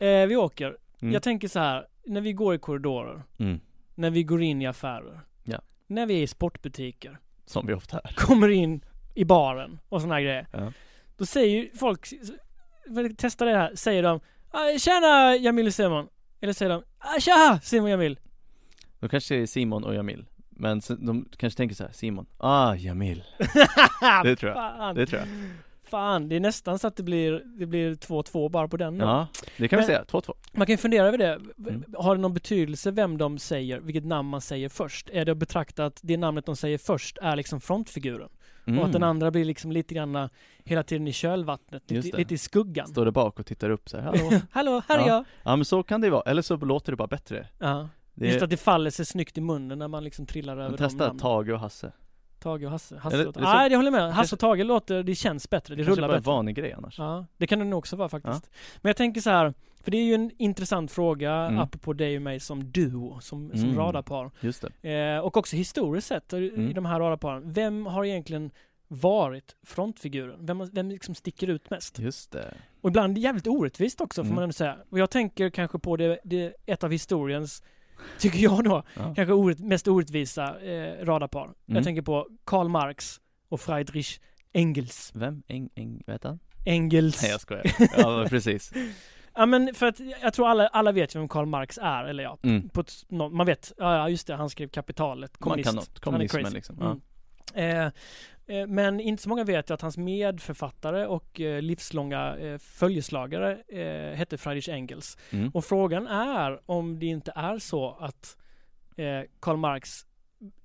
A: Eh, vi åker.
B: Mm.
A: Jag tänker så här, när vi går i korridorer,
B: Mm.
A: när vi går in i affärer,
B: Ja.
A: när vi är i sportbutiker,
B: Som vi ofta är.
A: kommer in i baren och såna här grejer.
B: Ja.
A: Då säger ju folk, för att testa det här, säger de "Ah, Tjena Jamil och Simon. Eller säger de "Ah, Tja Simon och Jamil.
B: De kanske är Simon och Jamil. Men sen, de kanske tänker så här, Simon, ah Jamil. Det tror jag.
A: Fan,
B: Det tror jag.
A: fan, det är nästan så att det blir, det blir 2-2 bara på den.
B: Ja, det kan vi
A: Men-
B: säga. 2-2.
A: Man kan ju fundera över det. V-
B: Mm.
A: Har det någon betydelse vem de säger, vilket namn man säger först? Är det att betrakta att det namnet de säger först är liksom frontfiguren?
B: Mm.
A: Och att den andra blir liksom lite grann hela tiden i kölvattnet,
B: Just
A: lite,
B: det.
A: lite i skuggan.
B: Står där bak och tittar upp så här, hallå.
A: Hallå, här är
B: Ja.
A: jag!
B: ja men så kan det ju vara. Eller så låter det bara bättre.
A: Ja.
B: Det
A: Just
B: är,
A: att det faller sig snyggt i munnen när man liksom trillar över de
B: testa
A: namnen.
B: Tage och Hasse.
A: Tage och Hasse. Hasse
B: Eller-
A: låter.
B: det är så-
A: Nej, det håller jag med. Hasse och Tage låter, det känns bättre. Det
B: Det kanske
A: rullar
B: bara är en
A: bättre.
B: vanlig grej annars.
A: Ja, det kan det nog också vara faktiskt. Men jag tänker så här, för det är ju en intressant fråga
B: Mm.
A: apropå dig och mig som duo, som, som
B: Mm.
A: radarpar.
B: Just det.
A: Eh, och också historiskt sett i- i
B: Mm.
A: de här radarparen. Vem har egentligen varit frontfiguren? Vem, har- vem liksom sticker ut mest?
B: Just det.
A: Och ibland jävligt orättvist också får
B: Mm.
A: man ändå säga. Och jag tänker kanske på det, det ett av historiens, tycker jag då,
B: Ja.
A: kanske orätt, mest orättvisa eh, radarpar. Jag
B: Mm.
A: tänker på Karl Marx och Friedrich Engels.
B: Vem? Eng, eng, vet han?
A: Engels.
B: Nej jag skojar. Ja men precis.
A: Ja men för att jag tror alla, alla vet ju vem Karl Marx är, eller ja.
B: Mm.
A: På ett, nå- man vet, ja ja, just det, han skrev Kapitalet, kommunist.
B: Man kan något.
A: Han är
B: Kommunismen
A: crazy.
B: liksom. Ja.
A: Mm. Eh, eh, men inte så många vet ju att hans medförfattare och eh, livslånga eh, följeslagare eh, hette Friedrich Engels.
B: Mm.
A: Och frågan är om det inte är så att eh, Karl Marx,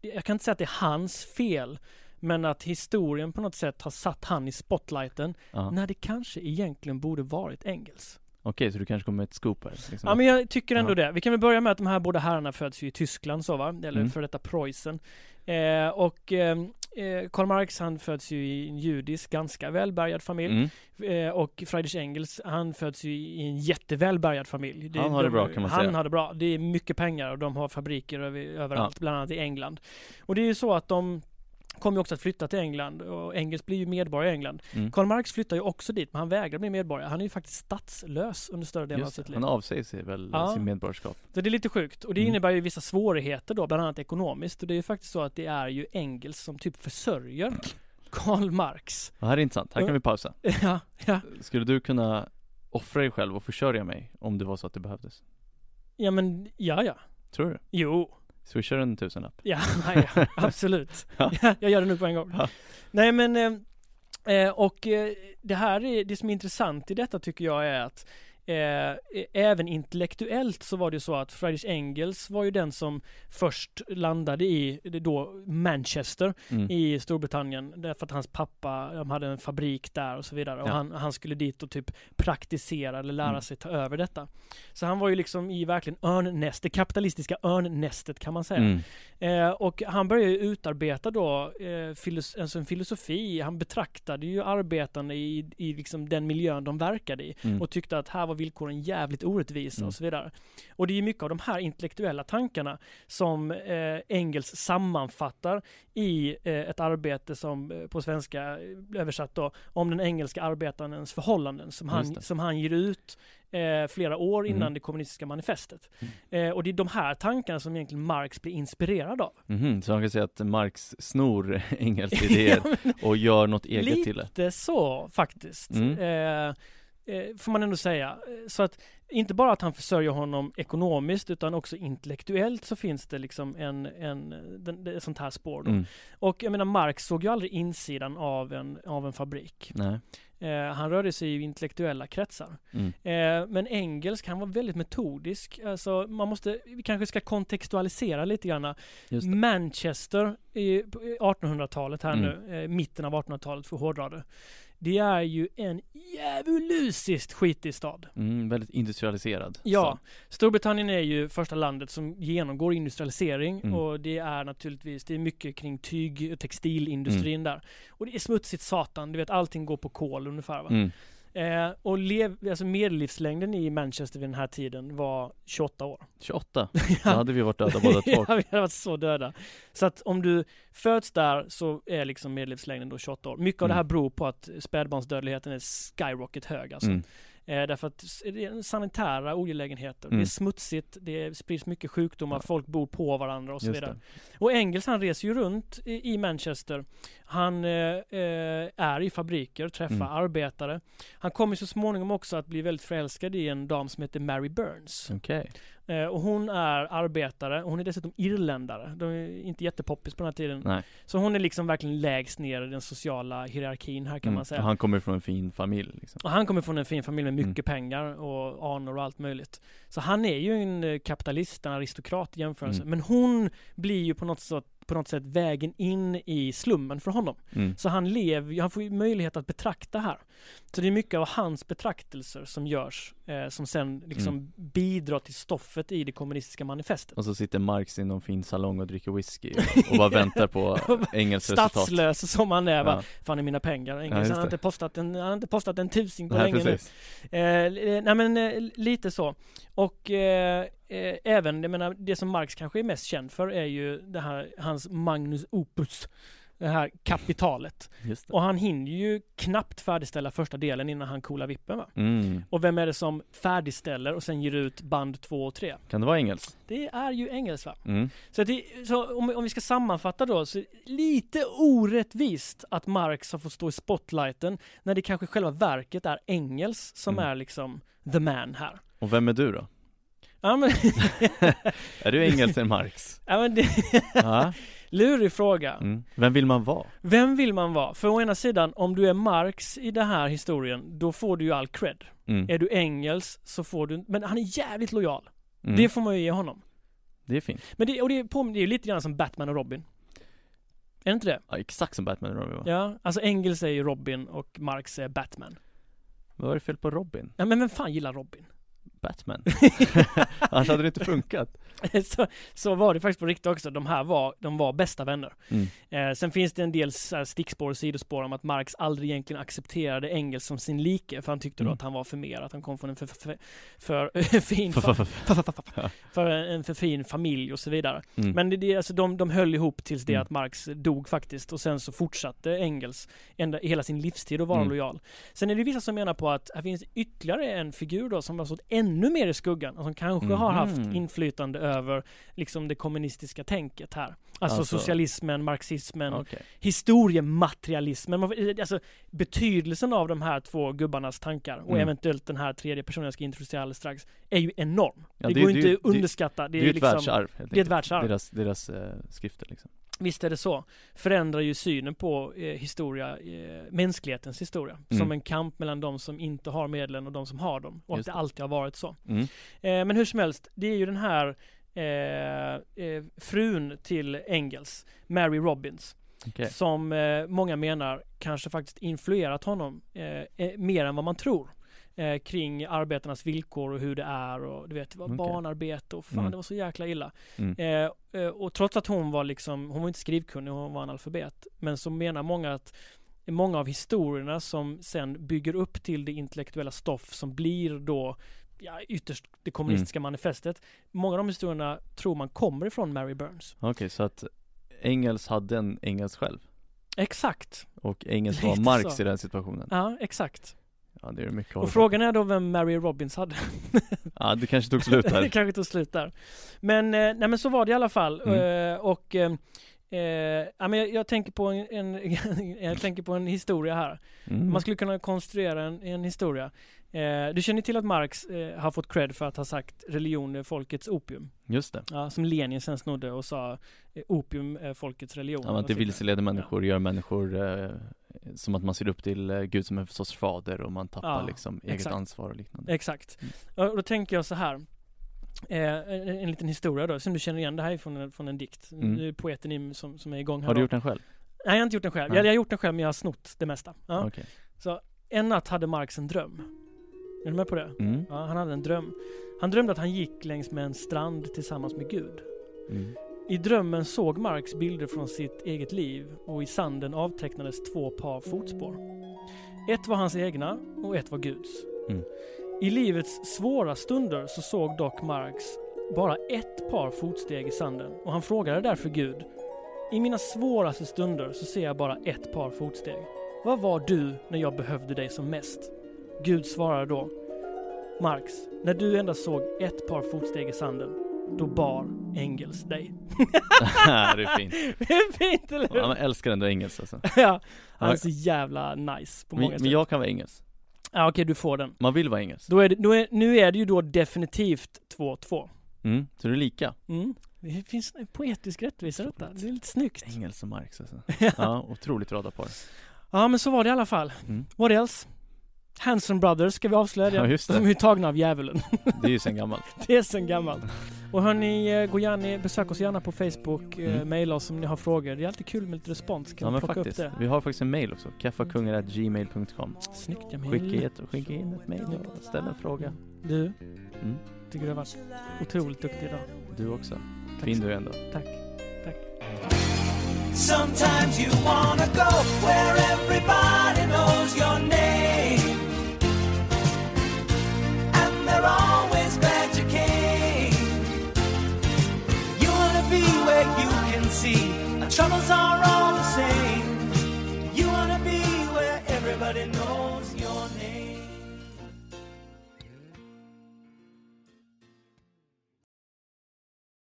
A: jag kan inte säga att det är hans fel, men att historien på något sätt har satt han i spotlighten
B: Ja.
A: när det kanske egentligen borde varit Engels.
B: Okej så du kanske kommer med ett scoop här. Liksom.
A: Ja men jag tycker ändå
B: Ja.
A: det. Vi kan väl börja med att de här båda herrarna föds ju i Tyskland så va? Eller
B: Mm.
A: för detta Preussen. Eh, och ehm, eh, Karl Marx han föds ju i en judisk, ganska välbärgad familj.
B: mm.
A: Eh, och Friedrich Engels, han föds ju i en jättevälbärgad familj.
B: Han har det bra, kan man
A: han
B: säga.
A: har det bra. Det är mycket pengar och de har fabriker över, överallt, bland annat i England. Och det är ju så att de kommer ju också att flytta till England och Engels blir ju medborgare i England.
B: Mm.
A: Karl Marx flyttar ju också dit, men han vägrar bli medborgare. Han är ju faktiskt statslös under större delen av
B: Just
A: sitt
B: det.
A: liv.
B: Han avsäger sig väl
A: Ja.
B: sin medborgarskap.
A: Så det är lite sjukt och det
B: Mm.
A: innebär ju vissa svårigheter då, bland annat ekonomiskt. Och det är ju faktiskt så att det är ju Engels som typ försörjer Karl Marx.
B: Och här är intressant. Här kan vi pausa.
A: ja, ja.
B: Skulle du kunna offra dig själv och försörja mig om det var så att det behövdes?
A: ja, men ja, ja.
B: Tror du?
A: Jo,
B: Så vi kör en tusenlapp?
A: Ja, nej, ja absolut.
B: Ja.
A: Jag gör det nu på en gång.
B: Ja.
A: Nej men, eh, eh, och eh, det här är, det som är intressant i detta tycker jag är att eh, även intellektuellt så var det ju så att Friedrich Engels var ju den som först landade i det då Manchester
B: Mm.
A: i Storbritannien därför att hans pappa, de hade en fabrik där och så vidare och
B: Ja.
A: han, han skulle dit och typ praktisera eller lära
B: Mm.
A: sig ta över detta. Så han var ju liksom i verkligen örnnäst, det kapitalistiska örnnästet kan man säga.
B: Mm.
A: Eh, och han började ju utarbeta då eh, filos- alltså en filosofi. Han betraktade ju arbetarna i, i liksom den miljön de verkade i
B: Mm.
A: och tyckte att här var var villkoren jävligt orättvisa och så vidare. Och det är ju mycket av de här intellektuella tankarna som eh, Engels sammanfattar i eh, ett arbete som eh, på svenska eh, översatt då, om den engelska arbetarens förhållanden som
B: Just
A: han,
B: det.
A: som han ger ut eh, flera år innan
B: Mm.
A: det kommunistiska manifestet. Eh, och det är de här tankarna som egentligen Marx blir inspirerad av.
B: Mhm, så man kan säga att Marx snor Engels idéer och gör något eget till det.
A: Lite så faktiskt.
B: Mm.
A: Eh, eh, får man ändå säga. Eh, Så att inte bara att han försörjer honom ekonomiskt utan också intellektuellt så finns det liksom en, en den, det är ett sånt här spår då.
B: Mm.
A: Och jag menar Marx såg ju aldrig insidan av en, av en fabrik.
B: Nej.
A: Eh, han rörde sig i intellektuella kretsar.
B: Mm.
A: Eh, men engelsk, han var väldigt metodisk. Alltså man måste, vi kanske ska kontextualisera lite grann.
B: Just det.
A: Manchester i på 1800-talet här
B: Mm.
A: nu, eh, mitten av 1800-talet för att hårdra det. Det är ju en djävulusiskt skitig stad.
B: Mm, väldigt industrialiserad.
A: Ja, Storbritannien är ju första landet som genomgår industrialisering
B: Mm.
A: och det är naturligtvis, det är mycket kring tyg och
B: Mm.
A: textilindustrin där. Och det är smutsigt satan, du vet allting går på kol ungefär va.
B: Så. Mm.
A: Eh, och lev, alltså medellivslängden i Manchester vid den här tiden var 28 år.
B: 28. Då hade vi varit döda båda två.
A: Ja, vi hade varit så döda. Så att om du föds där så är liksom medellivslängden då 28 år. Mycket av det här
B: Mm.
A: beror på att spädbarnsdödligheten är skyrocket hög alltså.
B: Mm.
A: Eh, därför att s- det är sanitära olägenheter, det är
B: Mm.
A: smutsigt, det sprids mycket sjukdomar,
B: Ja.
A: folk bor på varandra och så
B: Just
A: vidare.
B: det.
A: Och Engels han reser ju runt i, i Manchester. Han eh, eh, är i fabriker, träffar
B: Mm.
A: arbetare. Han kommer så småningom också att bli väldigt förälskad i en dam som heter Mary Burns.
B: Okej.
A: Eh, och hon är arbetare, och hon är dessutom irländare. De är inte jättepoppis på den här tiden.
B: Nej.
A: Så hon är liksom verkligen lägst ner i den sociala hierarkin här kan
B: Mm.
A: man säga.
B: Och Han kommer från en fin familj liksom.
A: Och han kommer från en fin familj med mycket
B: Mm.
A: pengar och anor och allt möjligt. Så han är ju en eh, kapitalist, en aristokrat i jämförelse.
B: Mm.
A: Men hon blir ju på något, sätt, på något sätt vägen in i slummen för honom.
B: Mm.
A: Så han lever ju- han får ju möjlighet att betrakta här. Så det är mycket av hans betraktelser som görs, eh, som sen liksom
B: Mm.
A: bidrar till stoffet i det kommunistiska manifestet.
B: Och så sitter Marx i någon fin salong och dricker whisky och, och bara väntar på Engels resultat.
A: Statslös som han är, va?
B: Ja.
A: Fan är mina pengar,
B: Ja,
A: Engels,
B: just
A: han, har
B: det.
A: inte postat en, han har inte postat en tusing på
B: Nej,
A: länge nu.
B: precis.
A: Eh, li- eh, nej men eh, lite så. Och eh, eh, även, jag menar, det som Marx kanske är mest känd för är ju det här, hans Magnus Opus. Det här kapitalet.
B: Just det.
A: Och han hinner ju knappt färdigställa första delen innan han coolar vippen va?
B: Mm.
A: Och vem är det som färdigställer och sen ger ut band två och tre?
B: Kan det vara Engels?
A: Det är ju Engels va?
B: Mm.
A: Så, att det, så om, om vi ska sammanfatta då, så lite orättvist att Marx har fått stå i spotlighten när det kanske i själva verket är Engels som
B: Mm.
A: är liksom the man här.
B: Och vem är du då?
A: Ja men,
B: Är du Engels eller Marx?
A: ja, men det,
B: Ja.
A: lurig fråga.
B: Mm. Vem vill man vara?
A: Vem vill man vara? För å ena sidan, om du är Marx i den här historien, då får du ju all cred.
B: Mm.
A: Är du Engels så får du Men han är jävligt lojal.
B: Mm.
A: Det får man ju ge honom.
B: det är fint.
A: Men det, och det, påminner- det är ju lite grann som Batman och Robin. Är det inte det?
B: Ja, exakt som Batman och Robin var.
A: Ja, alltså Engels är ju Robin och Marx är Batman.
B: Vad var det fel på Robin?
A: Ja men vem fan gillar Robin?
B: Batman? Annars hade det inte funkat.
A: så, så var det faktiskt på riktigt också. De här var, de var bästa vänner.
B: Mm.
A: Eh, sen finns det en del så här stickspår och sidospår om att Marx aldrig egentligen accepterade Engels som sin like, för han tyckte då
B: Mm.
A: att han var för mer, att han kom från en för, för, för, för fin
B: F- f-
A: fa-
B: f-
A: för en för fin familj och så vidare.
B: Mm.
A: Men det, det, alltså de, de höll ihop tills det
B: Mm.
A: att Marx dog faktiskt och sen så fortsatte Engels ända, hela sin livstid att vara
B: Mm.
A: lojal. Sen är det vissa som menar på att här finns ytterligare en figur då som har stått ännu mer i skuggan och som kanske har haft
B: Mhm.
A: inflytande över liksom det kommunistiska tänket här. Alltså,
B: Alltså-
A: socialismen, marxismen,
B: Okej.
A: historiematerialismen. Man får- Alltså betydelsen av de här två gubbarnas tankar och
B: Mm.
A: eventuellt den här tredje personen jag ska introducera alldeles strax är ju enorm.
B: Ja,
A: det,
B: det är-
A: går
B: det
A: ju
B: är
A: inte
B: ju-
A: att underskatta.
B: Det
A: Det,
B: är ju
A: är
B: ett
A: liksom,
B: världsarv helt
A: det är ett
B: enkelt.
A: världsarv.
B: Deras, deras eh, skrifter liksom.
A: Visst är det så. Förändrar ju synen på eh, historia, eh, mänsklighetens historia. Som
B: Mm.
A: en kamp mellan de som inte har medlen och de som har dem. Och
B: Just
A: att det
B: det.
A: alltid har varit så.
B: Mm.
A: Eh, men hur som helst, det är ju den här eh, eh, frun till Engels, Mary Robbins.
B: Okej.
A: som eh, många menar kanske faktiskt influerat honom eh, eh, mer än vad man tror. Eh, kring arbetarnas villkor och hur det är och du vet, det var
B: Okej.
A: barnarbete och fan
B: Mm.
A: det var så jäkla illa.
B: Mm.
A: Eh, eh, och trots att hon var liksom, hon var inte skrivkunnig, hon var analfabet. Men så menar många att många av historierna som sen bygger upp till det intellektuella stoff som blir då ja, ytterst det
B: Mm.
A: kommunistiska manifestet. Många av de historierna tror man kommer ifrån Mary Burns.
B: Okej, så att Engels hade en Engels själv
A: Exakt.
B: och Engels var
A: Lite
B: Marx
A: så.
B: i den situationen.
A: Ja, exakt.
B: Ja, det är mycket att hålla
A: Och
B: på.
A: frågan är då vem Mary Robbins hade.
B: Ja, det kanske tog slut
A: det
B: där.
A: kanske tog slut där. Men, eh, nej men så var det i alla fall.
B: Mm.
A: Eh, och, eh, eh, ja, men jag, jag, tänker på en, en, jag tänker på en historia här.
B: Mm.
A: Man skulle kunna konstruera en, en historia. Eh, du känner till att Marx eh, har fått cred för att ha sagt religion är folkets opium.
B: Just det.
A: Ja, som Lenin sen snodde och sa eh, opium är folkets religion.
B: Ja, att det
A: Och så vidare.
B: vilseleder människor, gör människor eh, som att man ser upp till eh, Gud som en sorts fader och man tappar
A: Ja,
B: liksom eget
A: exakt.
B: ansvar och liknande.
A: Exakt. Och då tänker jag så här. Eh, en, en liten historia då, som du känner igen det här är från, en- från en dikt.
B: Mm.
A: Nu är poeten i mig som, som är igång här
B: Har du
A: då.
B: gjort den själv?
A: Nej, jag har inte gjort den själv.
B: Nej.
A: Jag, jag har gjort den själv, men jag har snott det mesta. Ja.
B: Okej.
A: En natt hade Marx en dröm. Är du med på det?
B: Mm.
A: Ja, han hade en dröm. Han drömde att han gick längs med en strand tillsammans med Gud.
B: Mm.
A: I drömmen såg Marx bilder från sitt eget liv och i sanden avtecknades två par fotspår. Ett var hans egna och ett var Guds.
B: Mm.
A: I livets svåra stunder så såg dock Marx bara ett par fotsteg i sanden och han frågade därför Gud. I mina svåraste stunder så ser jag bara ett par fotsteg. Vad var du när jag behövde dig som mest? Gud svarade då. Marx, när du endast såg ett par fotsteg i sanden, då bar Engels dig.
B: det är fint.
A: Det är fint eller hur?
B: Ja, man älskar ändå engelsk alltså.
A: Ja, han är så jävla nice på
B: Men,
A: många
B: men
A: sätt.
B: jag kan vara engelsk.
A: Ja, okej, du får den.
B: Man vill vara engelsk.
A: Då är det, då är, nu är det ju då definitivt 2-2.
B: Mm. Så det är lika.
A: Mm. Det finns en poetisk rättvisa i detta. Det är lite snyggt.
B: Engels och Marx alltså. Ja, otroligt radarpar.
A: Ja, men så var det i alla fall.
B: Mm.
A: What else? Hanson Brothers ska vi avslöja det.
B: Ja, just det.
A: De är ju tagna av djävulen.
B: Det är ju sen gammalt.
A: Det är sen gammalt. Och hörni, eh, gå gärna, besök oss gärna på Facebook, eh,
B: Mm.
A: mejla oss om ni har frågor. Det är alltid kul med lite respons. Kan
B: Ja
A: vi
B: men
A: plocka
B: faktiskt.
A: upp det?
B: Vi har faktiskt en mail också. kaffakungar.gmail.com
A: Snyggt Jamil.
B: Skicka, ett, skicka in ett mail och ställ en fråga.
A: Du,
B: Mm.
A: tycker du har varit otroligt duktig idag.
B: Du också.
A: Tack
B: Fin
A: så-
B: du är ändå.
A: Tack. Tack.
F: Sometimes you wanna go where everybody knows your name.